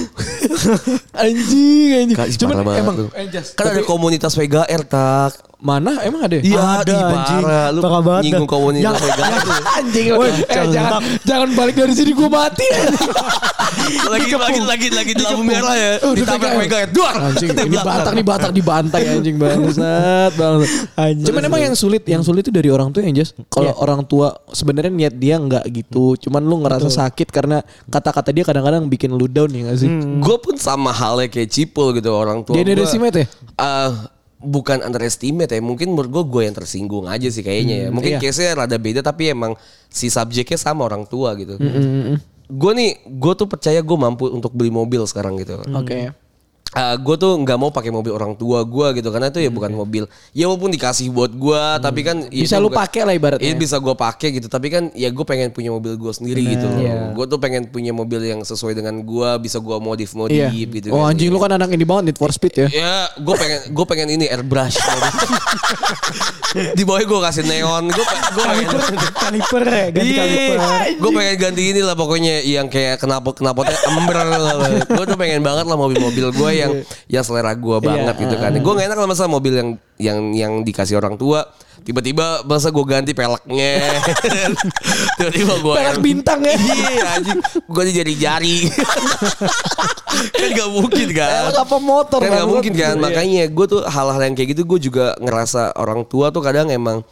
Speaker 3: Anjing, anjing.
Speaker 2: Kak, ih, parah
Speaker 3: Cuman
Speaker 2: banget
Speaker 3: emang.
Speaker 2: lu.
Speaker 3: eh, just-
Speaker 2: kan ada komunitas Vega Air tak.
Speaker 3: Mana? Emang ada ya?
Speaker 2: Iya,
Speaker 4: Ada,
Speaker 2: ih,
Speaker 4: anjing.
Speaker 2: parah. Lu
Speaker 4: Parah banget
Speaker 2: nyinggung
Speaker 4: dah.
Speaker 2: komunitas
Speaker 4: Yang-
Speaker 2: Vega Air.
Speaker 3: Anjing lu.
Speaker 4: Woi,
Speaker 3: Eh,
Speaker 4: jangan.
Speaker 3: jangan, jangan balik dari sini gue mati.
Speaker 2: lagi lagi lagi lagi di lampu merah ya.
Speaker 3: Udah
Speaker 2: Ditabrak
Speaker 3: PGR.
Speaker 2: Vega Air. Duar.
Speaker 3: Anjing,
Speaker 2: Ke
Speaker 3: ini
Speaker 2: belakang.
Speaker 3: Batak nih Batak dibantai anjing bangsat, bangsat.
Speaker 4: Anjing.
Speaker 3: Cuman emang yang sulit, yang sulit itu dari orang tua yang just kalau orang tua sebenarnya niat dia nggak gitu, cuman lu ngerasa sakit karena kata-kata dia kadang-kadang bikin lu down ya nggak sih?
Speaker 2: Gue pun sama halnya kayak Cipul gitu orang tua.
Speaker 3: Dia
Speaker 2: gua,
Speaker 3: underestimate ya?
Speaker 2: Ah, bukan underestimate ya. Mungkin menurut gue gue yang tersinggung aja sih kayaknya ya. Mungkin
Speaker 3: iya.
Speaker 2: case-nya rada beda tapi emang si subjeknya sama orang tua gitu.
Speaker 3: Hmm. Mm-hmm.
Speaker 2: Gue nih, gue tuh percaya gue mampu untuk beli mobil sekarang gitu.
Speaker 3: Oke.
Speaker 2: gue Eh, tuh nggak mau pakai mobil orang tua gue gitu karena itu
Speaker 3: Hmm,
Speaker 2: ya bukan mobil ya walaupun dikasih buat gue tapi kan ya itu
Speaker 3: Bisa lu
Speaker 2: bukan-
Speaker 3: pakai lah ibaratnya.
Speaker 2: Iya bisa gue pakai gitu tapi kan ya gue pengen punya mobil gue sendiri gitu
Speaker 3: Nah,
Speaker 4: Iya.
Speaker 2: gue tuh pengen punya mobil yang sesuai dengan gue bisa gue modif modif
Speaker 3: Iya.
Speaker 2: gitu
Speaker 3: Oh
Speaker 2: kan.
Speaker 3: anjing lu kan anak ini banget Need for Speed ya.
Speaker 2: ya gue pengen gue pengen ini airbrush di bawahnya gue kasih neon gue gue pengen
Speaker 4: kaliper kaliper ya ganti
Speaker 2: Iya,
Speaker 4: kaliper
Speaker 2: gue pengen ganti ini lah pokoknya yang kayak kenapa kenapotnya ember gue tuh pengen banget lah mobil-mobil gue
Speaker 3: Iya.
Speaker 2: yang yang selera gue banget gitu kan gue gak enak lah masa mobil yang yang yang dikasih orang tua tiba-tiba masa gue ganti peleknya tiba-tiba gue
Speaker 3: Pelek bintang ya.
Speaker 2: iya anjing gue jadi jari kan gak mungkin kan
Speaker 3: Pelek Eh, apa motor,
Speaker 2: kan gak
Speaker 3: bangsat.
Speaker 2: mungkin kan
Speaker 3: Iya.
Speaker 2: makanya gue tuh hal-hal yang kayak gitu gue juga ngerasa orang tua tuh kadang emang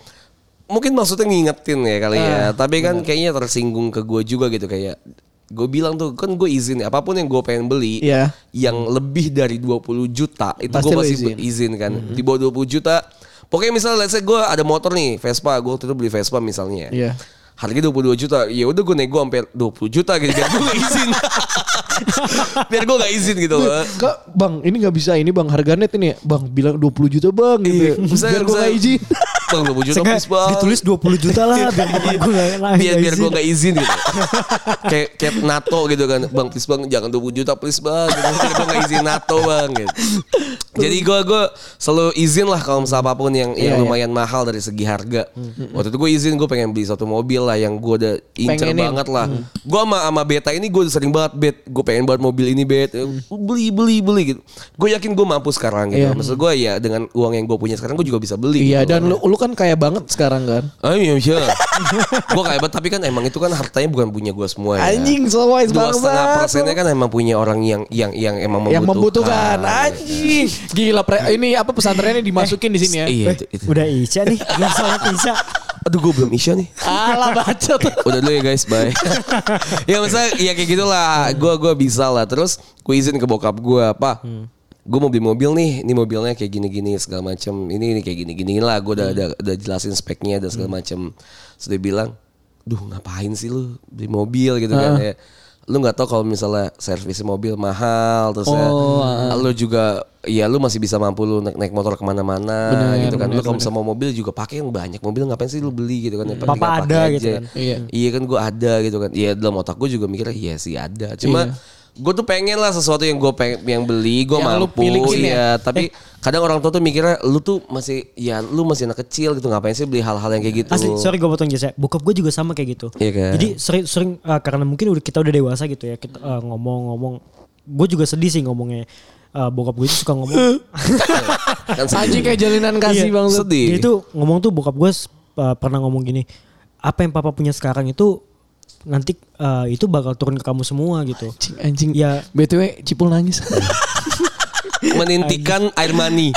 Speaker 2: mungkin maksudnya ngingetin ya kali ya
Speaker 3: Ah,
Speaker 2: tapi kan kayaknya tersinggung ke gue juga gitu kayak gue bilang tuh kan gue izin apapun yang gue pengen beli
Speaker 3: Iya.
Speaker 2: yang lebih dari 20 juta itu gue
Speaker 3: Pasti lo
Speaker 2: pasti
Speaker 3: izin. Mm-hmm.
Speaker 2: izin kan di bawah 20 juta pokoknya misalnya let's say gue ada motor nih Vespa gue waktu itu beli Vespa misalnya
Speaker 3: Iya.
Speaker 2: harganya 22 juta ya udah gue nego sampai 20 juta gitu biar gue gak izin biar gue gak izin gitu loh
Speaker 3: Kak, bang, ini nggak bisa ini bang harga net ini ya. Bang bilang 20 juta bang gitu. ya. Biar gue nggak izin.
Speaker 2: Bang 20 Iya, juta
Speaker 4: Seenggak
Speaker 2: please bang. Iya,
Speaker 4: ditulis 20 juta lah biar bapak gue nggak
Speaker 2: biar biar gue gak izin gitu. kayak kayak NATO gitu kan. Bang please bang jangan 20 juta please bang. Gitu. Biar gue gak izin NATO bang gitu. Jadi gue gue selalu izin lah kalau misalnya apapun yang yang
Speaker 3: Iya, iya.
Speaker 2: lumayan mahal dari segi harga. Waktu itu gue izin gue pengen beli satu mobil lah yang gue udah incer
Speaker 3: Pengenin.
Speaker 2: banget lah. Gue sama sama beta ini gue sering banget bet. Gue pengen banget mobil ini bet. Beli beli beli gitu. Gue yakin gue mampu sekarang gitu.
Speaker 3: Iya.
Speaker 2: Maksud gue ya dengan uang yang gue punya sekarang gue juga bisa beli.
Speaker 3: Iya
Speaker 2: gitu.
Speaker 3: dan lu, lu kan kaya banget sekarang kan.
Speaker 2: Ah iya bisa. gue kaya banget tapi kan emang itu kan hartanya bukan punya gue semua ya.
Speaker 3: Anjing so wise
Speaker 2: Dua setengah
Speaker 3: banget.
Speaker 2: persennya kan emang punya orang yang yang yang emang membutuhkan.
Speaker 3: yang membutuhkan anjing gila pre- ini apa pesantrennya dimasukin di sini ya
Speaker 2: Iya itu, itu.
Speaker 4: udah isya nih belum sholat isya
Speaker 2: Aduh gue belum isya nih.
Speaker 3: alah baca tuh
Speaker 2: Udah dulu ya guys, bye. ya misalnya ya kayak gitulah. Gue gua bisa lah. Terus gue izin ke bokap gue, apa? Gue mau beli mobil nih, ini mobilnya kayak gini-gini segala macam. Ini ini kayak gini-gini lah. Gue udah, udah udah jelasin speknya dan segala macam. Terus dia bilang, duh ngapain sih lu beli mobil gitu kan ya. Lu nggak tahu kalau misalnya servis mobil mahal terus ya, lu juga ya lu masih bisa mampu lu naik, naik motor kemana-mana gitu kan. lu kalau misalnya mau mobil juga pakai yang banyak mobil ngapain sih lu beli gitu kan. Yang penting
Speaker 4: Papa
Speaker 2: pakai
Speaker 4: ada gitu kan.
Speaker 3: Iya.
Speaker 2: Iya kan gue ada gitu kan. Iya dalam otak gue juga mikirnya iya sih ada. Cuma gue tuh pengen lah sesuatu yang gue pengen yang beli gue
Speaker 3: Yang lu
Speaker 2: mampu
Speaker 3: milikin ya.
Speaker 2: iya tapi kadang orang tua tuh mikirnya lu tuh masih ya lu masih anak kecil gitu ngapain sih beli hal-hal yang kayak gitu
Speaker 4: Asli, sorry gue potong jasa. Bokap gue juga sama kayak gitu.
Speaker 2: Iya kan?
Speaker 4: Jadi sering-sering eh, karena mungkin udah kita udah dewasa gitu ya kita eh, ngomong-ngomong. Gue juga sedih sih ngomongnya. Eh, bokap gue itu suka ngomong.
Speaker 2: kan
Speaker 3: anjing kayak jalinan kasih
Speaker 4: Iya,
Speaker 3: bang Zul.
Speaker 2: sedih
Speaker 4: Dia itu ngomong tuh bokap gue eh, pernah ngomong gini. Apa yang papa punya sekarang itu nanti eh, itu bakal turun ke kamu semua gitu.
Speaker 3: Anjing, anjing.
Speaker 4: Ya.
Speaker 3: BTW Cipul nangis.
Speaker 2: menintikan air mani.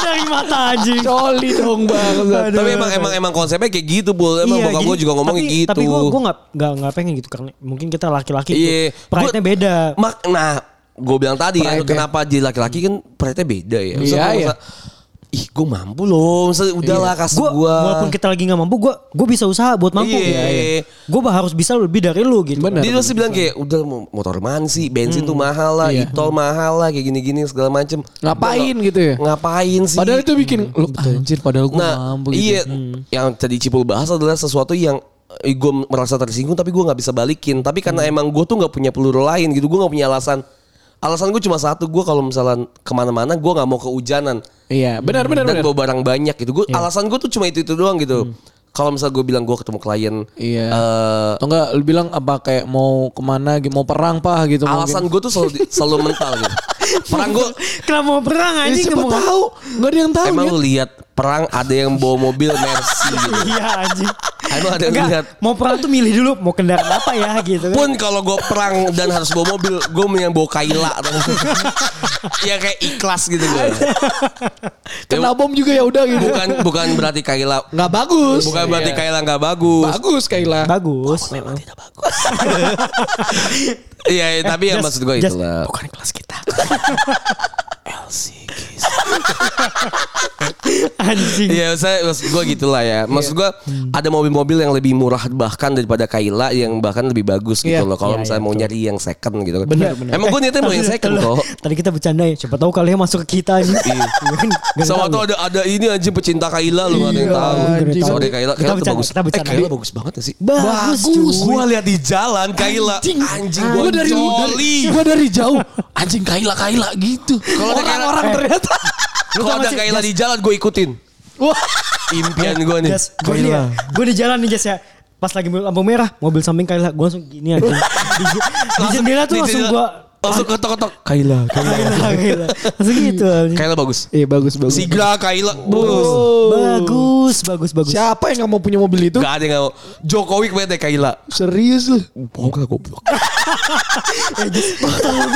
Speaker 4: Dari mata anjing.
Speaker 3: Coli dong bang.
Speaker 2: tapi emang emang emang konsepnya kayak gitu bul. Emang bokap
Speaker 4: Iya, jadi-
Speaker 2: gue juga ngomongnya
Speaker 4: tapi,
Speaker 2: gitu.
Speaker 4: Tapi gue gue nggak nggak nggak pengen gitu karena mungkin kita laki-laki tuh
Speaker 2: Iya.
Speaker 4: pride-nya
Speaker 2: Gua-
Speaker 4: beda.
Speaker 2: Mak, nah, gue bilang tadi ya,
Speaker 3: Pride-nya.
Speaker 2: kenapa jadi laki-laki kan pride-nya beda ya. Maksudnya
Speaker 3: Iya,
Speaker 2: kalau
Speaker 3: iya.
Speaker 2: misalnya, Ih, gue mampu loh. Maksudnya udahlah kasih
Speaker 4: Gue
Speaker 2: gue.
Speaker 4: walaupun kita lagi nggak mampu, gue gue bisa usaha buat mampu.
Speaker 2: Iya.
Speaker 4: Gue harus bisa lebih dari lu gitu.
Speaker 3: Bener.
Speaker 2: Dia pasti bilang kayak udah mo- motor mansi, bensin tuh mahal lah,
Speaker 3: Iya.
Speaker 2: e-tol mahal lah, kayak gini-gini segala macem.
Speaker 3: Ngapain gitu ya?
Speaker 2: Ngapain sih?
Speaker 3: Padahal itu bikin lu anjir padahal gue
Speaker 2: Hmm, nah,
Speaker 3: mampu gitu.
Speaker 2: iya, yang tadi Cipul bahas adalah sesuatu yang gue merasa tersinggung tapi gue nggak bisa balikin. Tapi
Speaker 3: Hmm.
Speaker 2: karena emang gue tuh nggak punya peluru lain gitu, gue nggak punya alasan. Alasan gue cuma satu, gue kalau misalnya kemana-mana gue nggak mau kehujanan.
Speaker 3: Iya, benar benar
Speaker 2: dan
Speaker 3: benar. Iya. Hmm.
Speaker 2: bawa barang banyak gitu. Gue alasan gue tuh cuma itu itu doang gitu. Kalau misal gue bilang gue ketemu klien,
Speaker 3: Iya.
Speaker 2: eh,
Speaker 3: Atau enggak lu bilang apa kayak mau kemana gitu, mau perang pah gitu
Speaker 2: alasan gue tuh selalu selalu mental gitu. Perang gue
Speaker 4: Kenapa mau perang
Speaker 3: Ya,
Speaker 4: anjing?
Speaker 3: siapa
Speaker 4: Ngomong-
Speaker 3: tahu? Enggak ada yang tahu. ya. gitu.
Speaker 2: emang
Speaker 3: Nyet.
Speaker 2: lu lihat perang ada yang bawa mobil Mercy gitu.
Speaker 4: Iya anjing.
Speaker 2: Emang ada yang
Speaker 4: Nggak,
Speaker 2: lihat.
Speaker 4: mau perang tuh milih dulu mau kendaraan apa ya gitu kan.
Speaker 2: Pun kalau gue perang dan harus bawa mobil, gue mending bawa Kaila. ya kayak ikhlas gitu gue.
Speaker 3: Kena bom juga ya udah gitu.
Speaker 2: Bukan bukan berarti Kaila
Speaker 3: Enggak bagus. Iya.
Speaker 2: bukan berarti Kaila nggak bagus.
Speaker 3: Bagus Kaila.
Speaker 4: Bagus. Memang
Speaker 2: Tidak bagus. Iya, tapi ya
Speaker 4: just-
Speaker 2: maksud gue
Speaker 4: just-
Speaker 2: itulah.
Speaker 4: Bukan kelas kita.
Speaker 2: LC
Speaker 3: Eh,
Speaker 2: kiss.
Speaker 4: Anjing.
Speaker 2: Iya, saya maksud gue gitulah ya. Maksud gue ada mobil-mobil yang lebih murah bahkan daripada Kaila yang bahkan lebih bagus gitu
Speaker 3: Iya.
Speaker 2: loh. Kalau
Speaker 4: Iya,
Speaker 2: misalnya
Speaker 4: iya,
Speaker 2: mau nyari yang second gitu kan.
Speaker 3: Benar, benar.
Speaker 2: Emang gue niatnya mau yang second
Speaker 4: Tadi-
Speaker 2: kok.
Speaker 4: Eh, Tadi kita bercanda ya, siapa tahu kalian masuk ke kita anjing. Iya. kan? Nggak
Speaker 2: Sama
Speaker 4: tahu.
Speaker 2: tuh ada ada ini anjing pecinta Kaila lu nggak ada yang
Speaker 3: Iya,
Speaker 2: tahu.
Speaker 3: anjing.
Speaker 2: Sorry Kaila,
Speaker 4: Kita
Speaker 2: Kaila tuh
Speaker 4: bercanda,
Speaker 2: bagus.
Speaker 4: kita bercanda.
Speaker 2: Eh Kaila bagus banget ya sih.
Speaker 4: Bagus, cuy.
Speaker 2: Gue lihat di jalan Kaila. Anjing,
Speaker 3: Gua
Speaker 2: gue dari
Speaker 3: dari, gua dari jauh. Anjing Kaila Kaila gitu.
Speaker 2: Kalau ada Kaila-
Speaker 3: orang
Speaker 2: eh.
Speaker 3: ternyata.
Speaker 2: Kalau ada Kaila di jalan gue ikutin.
Speaker 3: Wah.
Speaker 2: Impian gue nih.
Speaker 4: Jas, gue nih ya, gue di jalan nih Jas ya. Pas lagi mobil lampu merah, mobil samping Kaila, gue langsung gini aja. Di, di jendela tuh
Speaker 2: di
Speaker 4: langsung
Speaker 2: jendela-
Speaker 4: gue
Speaker 2: langsung ketok-ketok.
Speaker 3: Kaila, Kaila.
Speaker 4: Kaila, Kaila. Langsung gitu. anjing.
Speaker 2: Kaila bagus.
Speaker 3: Iya bagus bagus.
Speaker 2: Sigla Kaila. Bagus.
Speaker 4: Bagus, bagus, bagus.
Speaker 3: Siapa yang nggak mau punya mobil itu?
Speaker 2: Gak ada yang gak mau. Jokowi kebanyakan deh Kaila.
Speaker 3: Serius lu.
Speaker 2: Bohong lah goblok.
Speaker 4: Tolol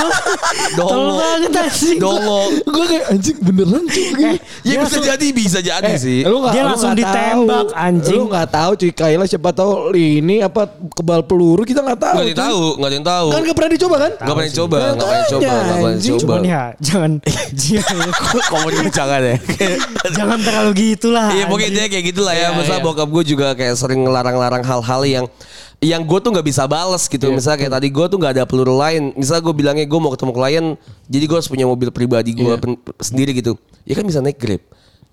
Speaker 2: Dongo.
Speaker 4: banget anjing.
Speaker 2: Dongo.
Speaker 3: Gua kayak anjing beneran cuy. Kayak-
Speaker 2: Ya bisa jadi, bisa jadi sih.
Speaker 3: Eh, lu nggak-
Speaker 4: Dia
Speaker 3: lu
Speaker 4: langsung
Speaker 3: nggak
Speaker 4: ditembak,
Speaker 3: tahu.
Speaker 4: anjing.
Speaker 3: Lu nggak tahu cuy Kaila siapa tahu ini apa kebal peluru kita nggak tahu.
Speaker 2: Gak ada yang
Speaker 3: cuy.
Speaker 2: tahu, gak ada yang tahu.
Speaker 3: Kan nggak pernah dicoba kan?
Speaker 2: Gak pernah coba,
Speaker 3: Nah,
Speaker 2: gak pernah
Speaker 3: tanya,
Speaker 2: coba, gak pernah
Speaker 3: anjing.
Speaker 2: coba.
Speaker 4: Cuman ya, jangan, jangan,
Speaker 2: Komunikasi jangan ya.
Speaker 4: jangan terlalu gitulah.
Speaker 2: Iya pokoknya
Speaker 4: anjing.
Speaker 2: dia kayak gitulah ya. Masalah bokap gue juga kayak sering ngelarang-larang hal-hal yang yang gue tuh nggak bisa balas gitu. Misalnya kayak tadi gue tuh nggak ada peluru lain. Misalnya gue bilangnya gue mau ketemu klien, jadi gue harus punya mobil pribadi gue pen- sendiri gitu. Ya kan bisa naik grab.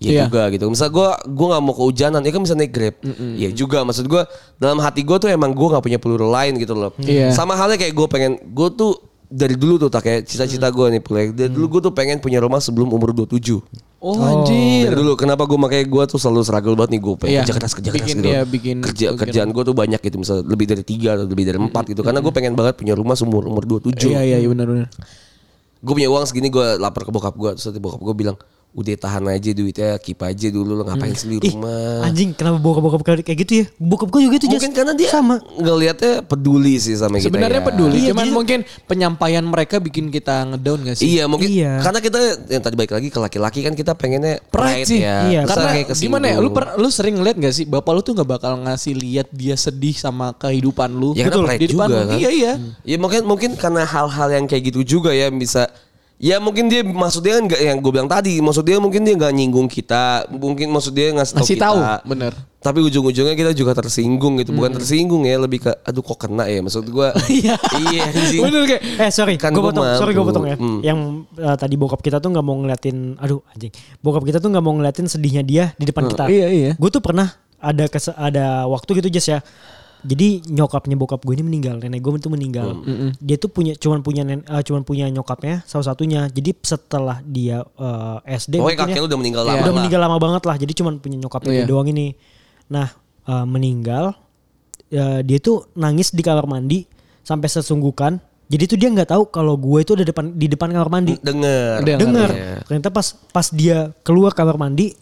Speaker 3: Iya.
Speaker 2: Ya juga gitu. Misalnya gue gue nggak mau kehujanan, ya kan bisa naik grab. Ya juga. Maksud gue dalam hati gue tuh emang gue nggak punya peluru lain gitu loh.
Speaker 3: Iya.
Speaker 2: Sama halnya kayak gue pengen gue tuh dari dulu tuh tak kayak cita-cita gue nih Pul, ya. Dari dulu gue tuh pengen punya rumah sebelum umur 27.
Speaker 3: Oh anjir.
Speaker 2: Dari dulu kenapa gue makanya gue tuh selalu struggle banget nih gue pengen
Speaker 3: Iya.
Speaker 2: kerja keras kerja keras
Speaker 3: Bikin-
Speaker 2: gitu.
Speaker 3: iya, bikin-
Speaker 2: kerja
Speaker 3: bikin-
Speaker 2: kerjaan gue tuh banyak gitu misalnya lebih dari tiga atau lebih dari empat gitu karena gue pengen banget punya rumah seumur umur 27
Speaker 3: Iya iya iya benar benar.
Speaker 2: Gue punya uang segini gue lapor ke bokap gue terus nanti bokap gue bilang udah tahan aja duitnya keep aja dulu lo
Speaker 3: Mm.
Speaker 2: ngapain sih di
Speaker 4: Ih,
Speaker 2: rumah.
Speaker 4: anjing kenapa bokap-bokap kayak kayak gitu ya? Bokap gue
Speaker 3: iya,
Speaker 4: juga itu
Speaker 2: Mungkin karena dia
Speaker 4: sama.
Speaker 2: ngelihatnya peduli sih sama kita.
Speaker 3: Sebenarnya
Speaker 2: ya.
Speaker 3: peduli,
Speaker 4: Iya,
Speaker 3: cuman
Speaker 4: jadi-
Speaker 3: mungkin penyampaian mereka bikin kita ngedown gak sih?
Speaker 2: Iya mungkin
Speaker 4: Iya.
Speaker 2: karena kita yang tadi baik lagi ke laki-laki kan kita pengennya
Speaker 3: Pride
Speaker 2: pride
Speaker 3: sih.
Speaker 2: ya.
Speaker 4: Iya,
Speaker 2: Terus
Speaker 3: Karena
Speaker 2: kayak kesinggung.
Speaker 3: gimana ya, lu per, lu sering ngeliat gak sih bapak lu tuh gak bakal ngasih lihat dia sedih sama kehidupan lu.
Speaker 2: Ya karena pride
Speaker 3: di
Speaker 2: juga
Speaker 3: depan lu.
Speaker 2: kan.
Speaker 3: Iya iya.
Speaker 2: Ya mungkin mungkin karena hal-hal yang kayak gitu juga ya bisa Ya mungkin dia maksudnya kan nggak yang gue bilang tadi, maksud dia mungkin dia nggak nyinggung kita, mungkin maksud dia ngasih tahu
Speaker 3: Ngasih
Speaker 2: kita.
Speaker 3: tahu, bener.
Speaker 2: Tapi ujung-ujungnya kita juga tersinggung gitu, bukan tersinggung ya, lebih ke aduh kok kena ya, maksud gue.
Speaker 3: Hmm. Iya.
Speaker 2: iya anjing.
Speaker 3: Bener kayak
Speaker 4: Eh sorry,
Speaker 2: Kan
Speaker 4: gue
Speaker 2: gua
Speaker 4: potong.
Speaker 2: mampu.
Speaker 4: Sorry gue potong ya.
Speaker 2: Hmm.
Speaker 4: Yang eh, tadi bokap kita tuh nggak mau ngeliatin, aduh anjing. Bokap kita tuh nggak mau ngeliatin sedihnya dia di depan
Speaker 2: Hmm.
Speaker 4: kita.
Speaker 3: iya, iya.
Speaker 4: Gue tuh pernah ada kes- ada waktu gitu Jess ya. Jadi nyokapnya bokap gue ini meninggal, nenek gue itu meninggal.
Speaker 2: Hmm.
Speaker 4: Dia tuh punya cuman punya nen- eh, cuman punya nyokapnya salah satunya. Jadi setelah dia eh, SD
Speaker 2: Pokoknya
Speaker 4: mungkin ya,
Speaker 2: kakek lu udah meninggal lama
Speaker 4: udah
Speaker 2: lah.
Speaker 4: meninggal lama banget lah jadi cuman punya nyokapnya
Speaker 3: Iya.
Speaker 4: dia doang ini nah eh, meninggal eh, dia tuh nangis di kamar mandi sampai sesunggukan jadi tuh dia nggak tahu kalau gue itu ada depan di depan kamar mandi
Speaker 2: Hmm, Dengar.
Speaker 3: Dengar.
Speaker 4: dengar
Speaker 2: Iya.
Speaker 4: ternyata pas pas dia keluar kamar mandi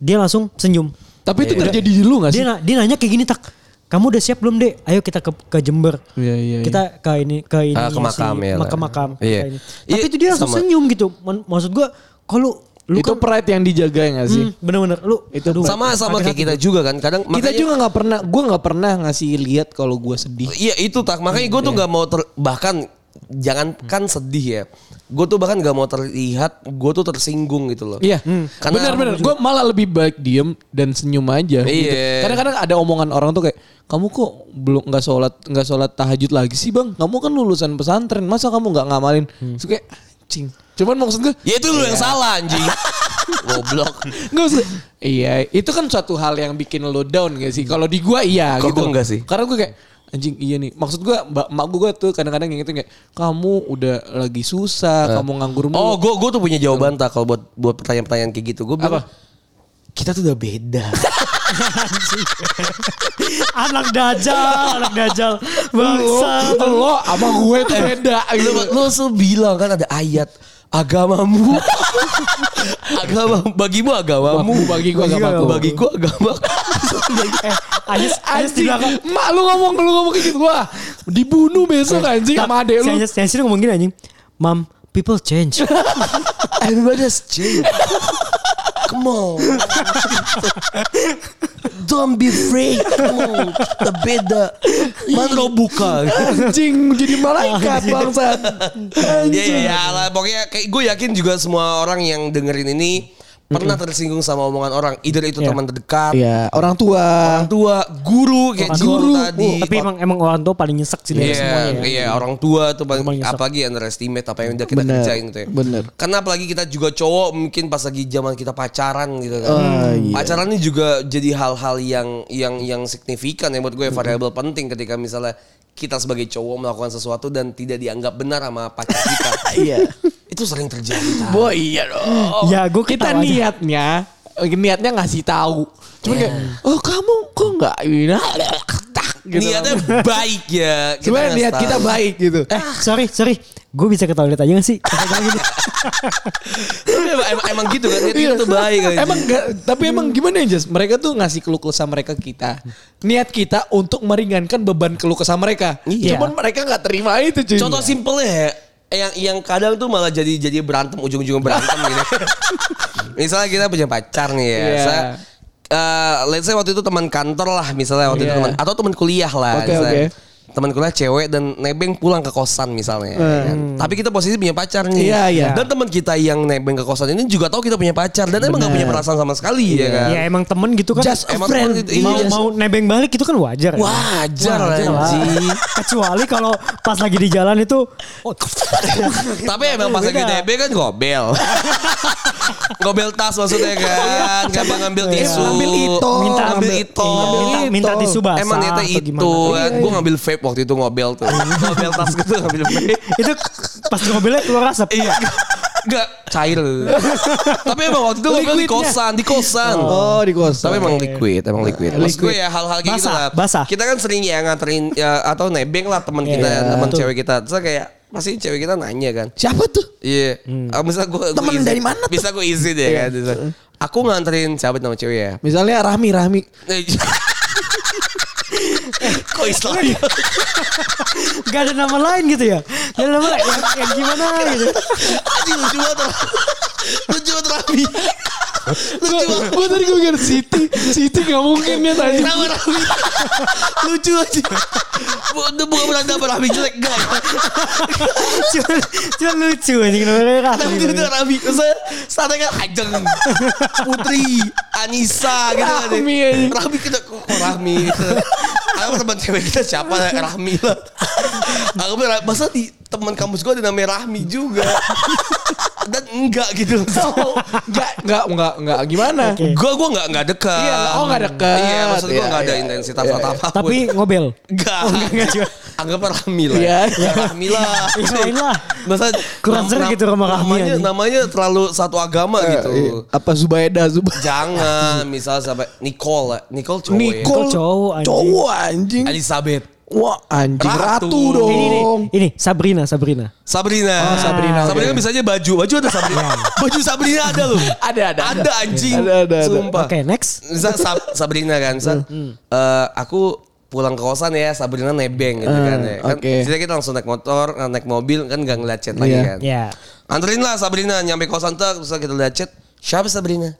Speaker 4: dia langsung senyum
Speaker 2: Iya.
Speaker 3: Tapi itu terjadi di lu gak sih?
Speaker 4: dia na- dia nanya kayak gini tak kamu udah siap belum dek? Ayo kita ke, ke Jember.
Speaker 3: Iya, iya,
Speaker 4: Kita ke ini ke ini
Speaker 2: Ah, ke makam ya lah.
Speaker 4: Ke makam.
Speaker 2: Iya.
Speaker 4: Ke ini.
Speaker 2: Iya,
Speaker 4: Tapi itu dia langsung
Speaker 2: sama.
Speaker 4: senyum gitu. Man- Maksud gua kalau lu
Speaker 3: itu
Speaker 4: kan-
Speaker 3: pride yang dijaga ya gak sih?
Speaker 4: Hmm, bener-bener lu
Speaker 3: Itu
Speaker 4: aduh,
Speaker 2: sama sama
Speaker 4: hati-hati
Speaker 2: kayak kita juga kan kadang
Speaker 3: Kita
Speaker 2: makanya-
Speaker 3: juga nggak pernah, gue nggak pernah ngasih lihat kalau gue sedih.
Speaker 2: Iya itu tak makanya gue tuh nggak mau ter, bahkan jangankan sedih ya, gue tuh bahkan nggak mau terlihat gue tuh tersinggung gitu loh.
Speaker 3: Iya,
Speaker 2: Karena-
Speaker 3: benar-benar. Gue malah lebih baik diem dan senyum aja. gitu.
Speaker 2: Iya.
Speaker 3: Kadang-kadang ada omongan orang tuh kayak, kamu kok belum nggak sholat nggak sholat tahajud lagi sih bang? Kamu kan lulusan pesantren, masa kamu nggak ngamalin?
Speaker 2: Hmm.
Speaker 3: Terus kayak, cing. Cuman maksud gue,
Speaker 2: Ya itu lu yang salah anjing. Goblok.
Speaker 3: Nggak maksud Iya, itu kan suatu hal yang bikin lo down gak sih? Kalau di gua iya
Speaker 2: Kalau
Speaker 3: gitu.
Speaker 2: gua nggak sih.
Speaker 3: Karena gua kayak anjing iya nih. Maksud gua mbak mak gua tuh kadang-kadang ngingetin kayak kamu udah lagi susah, kamu nganggur mulu.
Speaker 2: Oh gue gue tuh punya jawaban tak kalau buat buat pertanyaan-pertanyaan kayak gitu gue bilang
Speaker 3: Apa?
Speaker 2: kita tuh udah beda.
Speaker 4: anak dajal anak dajal bangsa
Speaker 3: lo, lo sama gue tuh beda
Speaker 2: lu,
Speaker 3: gitu.
Speaker 2: lu selalu bilang kan ada ayat agamamu agama bagimu agamamu
Speaker 3: Bagi gua agamaku.
Speaker 2: bagi gua agama
Speaker 4: eh Ayes Ayes di
Speaker 3: Anjing,
Speaker 4: belakang
Speaker 3: mak lu ngomong lu ngomong kayak gitu wah dibunuh besok
Speaker 2: Eh,
Speaker 3: anjing sama adek
Speaker 4: si
Speaker 3: lu.
Speaker 4: Ayes si Ayes ini ngomong gini anjing mam people change
Speaker 2: everybody has changed come on don't be afraid come on kita beda mana buka
Speaker 3: Anjing jadi malaikat bangsa.
Speaker 2: Iya iya ya, lah. pokoknya kayak gue yakin juga semua orang yang dengerin ini pernah tersinggung sama omongan orang either itu teman terdekat
Speaker 3: Iya, orang tua.
Speaker 2: orang tua guru kayak guru tadi
Speaker 4: Oh, Uh, tapi emang emang orang tua paling nyesek sih dari
Speaker 2: Iya,
Speaker 4: semuanya ya.
Speaker 2: iya orang tua tuh paling-
Speaker 4: Paling nyesek.
Speaker 2: apalagi underestimate apa yang udah kita
Speaker 3: Bener,
Speaker 2: kerjain gitu ya.
Speaker 3: bener.
Speaker 2: Karena apalagi kita juga cowok mungkin pas lagi zaman kita pacaran gitu kan. Pacaran ini juga jadi hal-hal yang yang yang signifikan ya buat gue variabel penting ketika misalnya kita sebagai cowok melakukan sesuatu dan tidak dianggap benar sama pacar kita.
Speaker 3: Iya.
Speaker 2: Itu sering terjadi.
Speaker 3: Boy iya dong.
Speaker 4: ya gue
Speaker 3: kita niatnya niatnya ngasih tahu cuma kayak oh kamu kok nggak ini ketak gitu
Speaker 2: Niatnya baik ya.
Speaker 3: cuma
Speaker 2: nggak
Speaker 3: niat
Speaker 2: tahu.
Speaker 3: kita baik gitu
Speaker 4: eh sorry sorry gue bisa ke toilet aja gak sih Kayak gini.
Speaker 2: Tapi emang, emang- emang gitu kan. Niat
Speaker 3: Iya.
Speaker 2: itu baik. kan.
Speaker 3: emang nggak- tapi emang gimana ya Jas mereka tuh ngasih keluh kesah mereka ke kita niat kita untuk meringankan beban keluh kesah mereka
Speaker 4: Iya.
Speaker 3: cuman mereka nggak terima itu cuy
Speaker 2: Contoh simpelnya ya, yang yang kadang tuh malah jadi jadi berantem ujung-ujungnya berantem gitu. misalnya kita punya pacar nih ya.
Speaker 3: Iya.
Speaker 2: Saya, eh, let's say waktu itu teman kantor lah misalnya waktu
Speaker 3: Iya.
Speaker 2: itu teman atau teman kuliah lah
Speaker 3: Oke,
Speaker 2: misalnya.
Speaker 3: oke.
Speaker 2: Teman kuliah cewek dan nebeng pulang ke kosan misalnya. ya kan. Tapi kita posisi punya pacar nih.
Speaker 3: Eh. Iya, iya.
Speaker 2: Dan teman kita yang nebeng ke kosan ini juga tahu kita punya pacar dan emang gak punya perasaan sama sekali ya kan.
Speaker 4: ya emang temen gitu kan
Speaker 3: Iya, Just a
Speaker 2: Emang
Speaker 3: friend.
Speaker 2: temen itu-
Speaker 4: mau
Speaker 2: iya.
Speaker 4: mau nebeng balik itu kan wajar ya.
Speaker 2: Wajar,
Speaker 4: Wajar lah.
Speaker 2: anjing.
Speaker 4: kecuali kalau pas lagi di jalan itu oh,
Speaker 2: Tapi emang pas lagi
Speaker 4: Beda.
Speaker 2: DB kan gobel. gobel tas maksudnya
Speaker 4: Oh, iya.
Speaker 2: kan. Siapa ngambil tisu.
Speaker 3: ngambil itu.
Speaker 2: Minta
Speaker 4: minta Iya,
Speaker 2: ambil itu.
Speaker 4: minta, minta
Speaker 3: Itu.
Speaker 4: tisu basah
Speaker 2: Emang niatnya
Speaker 4: atau
Speaker 2: itu.
Speaker 4: gimana. Iya.
Speaker 2: Kan. Gue ngambil vape waktu itu ngobel tuh. ngobel tas gitu ngambil vape.
Speaker 4: itu pas mobilnya keluar asap
Speaker 2: Iya. Enggak cair. Tapi emang waktu itu ngobel di
Speaker 4: Liquidnya.
Speaker 2: kosan. Di kosan.
Speaker 3: oh di kosan
Speaker 2: Tapi emang liquid, emang liquid. Maksud gue ya hal-hal kayak gitu
Speaker 4: Eh,
Speaker 2: lah.
Speaker 4: Basah, basah. Iya,
Speaker 2: Kita kan sering ya nganterin ya, atau nebeng lah teman kita, teman cewek kita. Terus kayak pasti cewek kita nanya kan.
Speaker 3: siapa tuh
Speaker 2: Iya. Ah, misalnya gua, gua
Speaker 3: Temen
Speaker 2: izin-
Speaker 3: dari mana tuh?
Speaker 2: Bisa gue izin ya kan. Bisa. Aku nganterin sahabat nama cewek ya.
Speaker 3: misalnya Rahmi Rahmi
Speaker 2: Eh, Kok Islam?
Speaker 4: Gak ada nama lain gitu ya Gak ada nama lain yang, yang gimana gitu
Speaker 2: Anjing lucu banget. Ra. Lucu banget Raffi. Lucu banget.
Speaker 3: gue tadi gue kira Siti Siti nggak mungkin ya tadi
Speaker 2: Kenapa Raffi? Lucu aja. Bu- Itu bukan berarti apa Raffi jelek. Enggak.
Speaker 4: Cuma, cuma lucu anjing namanya Raffi
Speaker 2: Tapi
Speaker 3: Iya,
Speaker 2: itu itu Raffi. Terus saya- Saatnya kan Ajeng. Putri. Anissa gitu kan.
Speaker 3: Rahmi, anjing.
Speaker 2: Rahmi kita kok kok Rahmi. Gitu. Aku teman cewek kita siapa Rahmi lah. Aku bilang masa di teman kampus gue ada namanya Rahmi juga. Dan enggak gitu.
Speaker 3: nggak nggak nggak nggak gimana
Speaker 4: Oke.
Speaker 2: Gue gue enggak enggak dekat.
Speaker 3: Iya, oh, nggak dekat.
Speaker 2: Iya, maksud gue
Speaker 3: Iya,
Speaker 2: enggak ada
Speaker 3: iya,
Speaker 2: intensitas
Speaker 3: iya,
Speaker 2: atau
Speaker 3: iya.
Speaker 2: apa.
Speaker 4: Tapi ngobel
Speaker 2: enggak.
Speaker 4: Oh, enggak, enggak juga.
Speaker 2: Anggap Rahmi lah.
Speaker 3: Iya, iya.
Speaker 2: Ya, Rahmi lah.
Speaker 4: Iya, lain lah.
Speaker 2: Masa
Speaker 4: Kurang seru
Speaker 2: nam-
Speaker 4: gitu sama Rahmi,
Speaker 2: Namanya,
Speaker 4: anjing.
Speaker 2: namanya terlalu satu agama
Speaker 3: Eh,
Speaker 2: gitu.
Speaker 3: Iya, apa Zubaida Zubaida
Speaker 2: Jangan misal sampai Nicole, lah. Nicole cowok
Speaker 3: Nicole
Speaker 4: Nicole cowok, anjing.
Speaker 3: cowok
Speaker 2: ya.
Speaker 3: ya. anjing.
Speaker 2: Elizabeth,
Speaker 3: Wah anjing
Speaker 2: Ratu.
Speaker 3: ratu,
Speaker 4: Ini,
Speaker 3: dong.
Speaker 4: ini, ini Sabrina Sabrina
Speaker 2: Sabrina.
Speaker 3: Oh, Sabrina, oke.
Speaker 2: Sabrina kan bisa aja baju. Baju ada Sabrina. baju Sabrina ada loh.
Speaker 3: Ada, ada, ada.
Speaker 2: Ada anjing.
Speaker 3: Ada, ada, ada.
Speaker 2: Sumpah.
Speaker 4: Oke next
Speaker 3: Hmm.
Speaker 2: Misal Sab- Sabrina kan, misal, eh, aku pulang ke kosan ya Sabrina nebeng gitu kan ya. Kan
Speaker 3: Hmm, oke.
Speaker 2: jadi kita langsung naik motor, naik mobil kan gak ngeliat chat lagi
Speaker 3: Iya.
Speaker 2: kan.
Speaker 4: Ya.
Speaker 2: Anterin lah Sabrina nyampe kosan tuh terus kita lihat chat. Siapa Sabrina?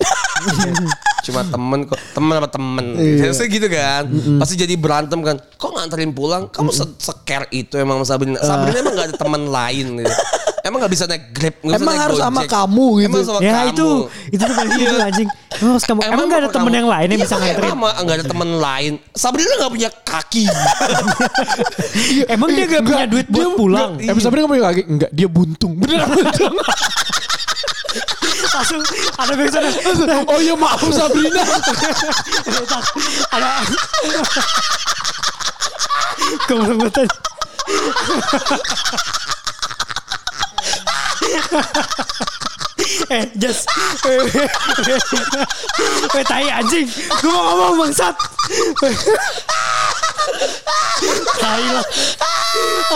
Speaker 2: Cuma temen kok, temen apa temen.
Speaker 3: Iya.
Speaker 2: Biasanya gitu kan.
Speaker 3: Hmm.
Speaker 2: Pasti jadi berantem kan. Kok nganterin pulang? Kamu se- seker itu emang sama Sabrina.
Speaker 3: Ah.
Speaker 2: Sabrina emang gak ada teman lain gitu. Emang gak bisa naik Grab, gak bisa
Speaker 3: Emang
Speaker 2: naik
Speaker 3: harus sama
Speaker 2: Gojek.
Speaker 3: kamu gitu.
Speaker 2: Emang sama
Speaker 4: Ya
Speaker 2: kamu. Iya.
Speaker 4: itu itu tuh paling gitu anjing. Emang harus kamu emang gak ada
Speaker 2: apa
Speaker 4: temen
Speaker 2: kamu-
Speaker 4: yang lain yang
Speaker 2: Iya,
Speaker 4: bisa
Speaker 2: kok
Speaker 4: nganterin?
Speaker 2: Emang gak ada temen lain. Sabrina gak punya kaki. Iya,
Speaker 4: Emang dia gak punya
Speaker 3: Enggak,
Speaker 4: duit
Speaker 3: Eh, dia
Speaker 4: buat pulang.
Speaker 3: enggak- Emang sebenarnya kamu lagi enggak dia buntung. Bener iya. buntung.
Speaker 4: Langsung ada biasanya
Speaker 3: oh iya maaf Sabrina.
Speaker 4: ada kemudian eh just eh tai anjing gue mau ngomong bangsat tai lah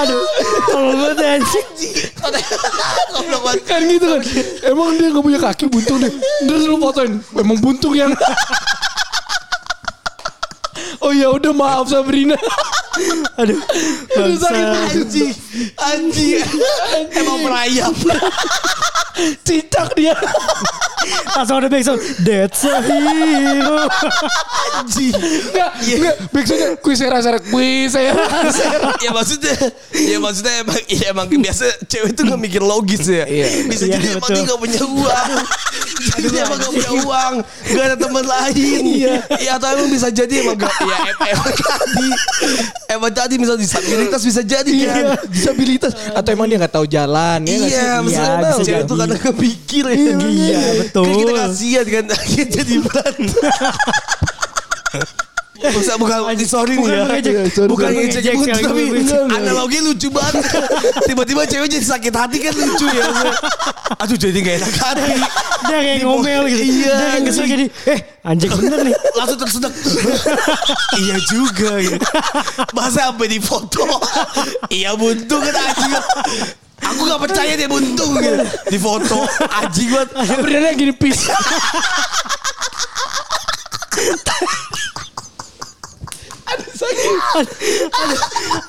Speaker 4: aduh tolong banget ya, anjing
Speaker 2: Goblok banget.
Speaker 3: kan gitu kan. Emang dia enggak punya kaki buntung deh. Terus lu fotoin. Emang buntung yang Oh ya udah maaf Sabrina.
Speaker 4: aduh
Speaker 3: Aduh, sakit
Speaker 4: bangsat
Speaker 2: Anjing. Anjing. Emang merayap.
Speaker 3: Cicak dia.
Speaker 4: langsung ada backsound that's a hero
Speaker 3: Enggak, enggak. Backsoundnya kuis era seret kuis era.
Speaker 2: ya maksudnya ya maksudnya emang ya emang biasa cewek tuh nggak mikir logis ya bisa
Speaker 4: Iya,
Speaker 2: jadi emang
Speaker 4: betul.
Speaker 2: dia nggak punya uang jadi dia emang nggak punya uang nggak ada teman lain
Speaker 4: Iya.
Speaker 2: ya atau emang bisa jadi emang gak, ya em- emang tadi emang tadi misal disabilitas bisa jadi kan
Speaker 3: Iya, disabilitas atau emang dia nggak tahu jalan ya? nggak sih?
Speaker 2: Iya,
Speaker 4: Iya,
Speaker 2: maksudnya emang
Speaker 4: bisa
Speaker 2: cewek
Speaker 4: jadi.
Speaker 2: tuh kadang kepikir ya.
Speaker 4: Iya, betul.
Speaker 2: Kan kita kasihan kan, akhirnya jadi berantem. Bisa bukan sorry nih
Speaker 4: bukan
Speaker 2: ya.
Speaker 4: mengejek.
Speaker 2: bukan
Speaker 4: Bukan
Speaker 2: ngejek
Speaker 4: mengejek,
Speaker 2: bukan,
Speaker 4: sekali
Speaker 2: tapi
Speaker 4: lagi mengejek.
Speaker 2: analogi lucu banget. Tiba-tiba cewek jadi sakit hati kan lucu ya. Iya, Aduh jadi gak enak hati.
Speaker 4: dia kayak ngomel gitu
Speaker 2: Iya,
Speaker 4: dia kayak kesel jadi eh anjing bener nih
Speaker 2: Langsung tersedak. iya juga gitu. Masa sampai di foto. iya buntung kan anjing. Aku gak percaya dia buntung gitu. Di foto anjing banget.
Speaker 3: Sebenarnya gini pis.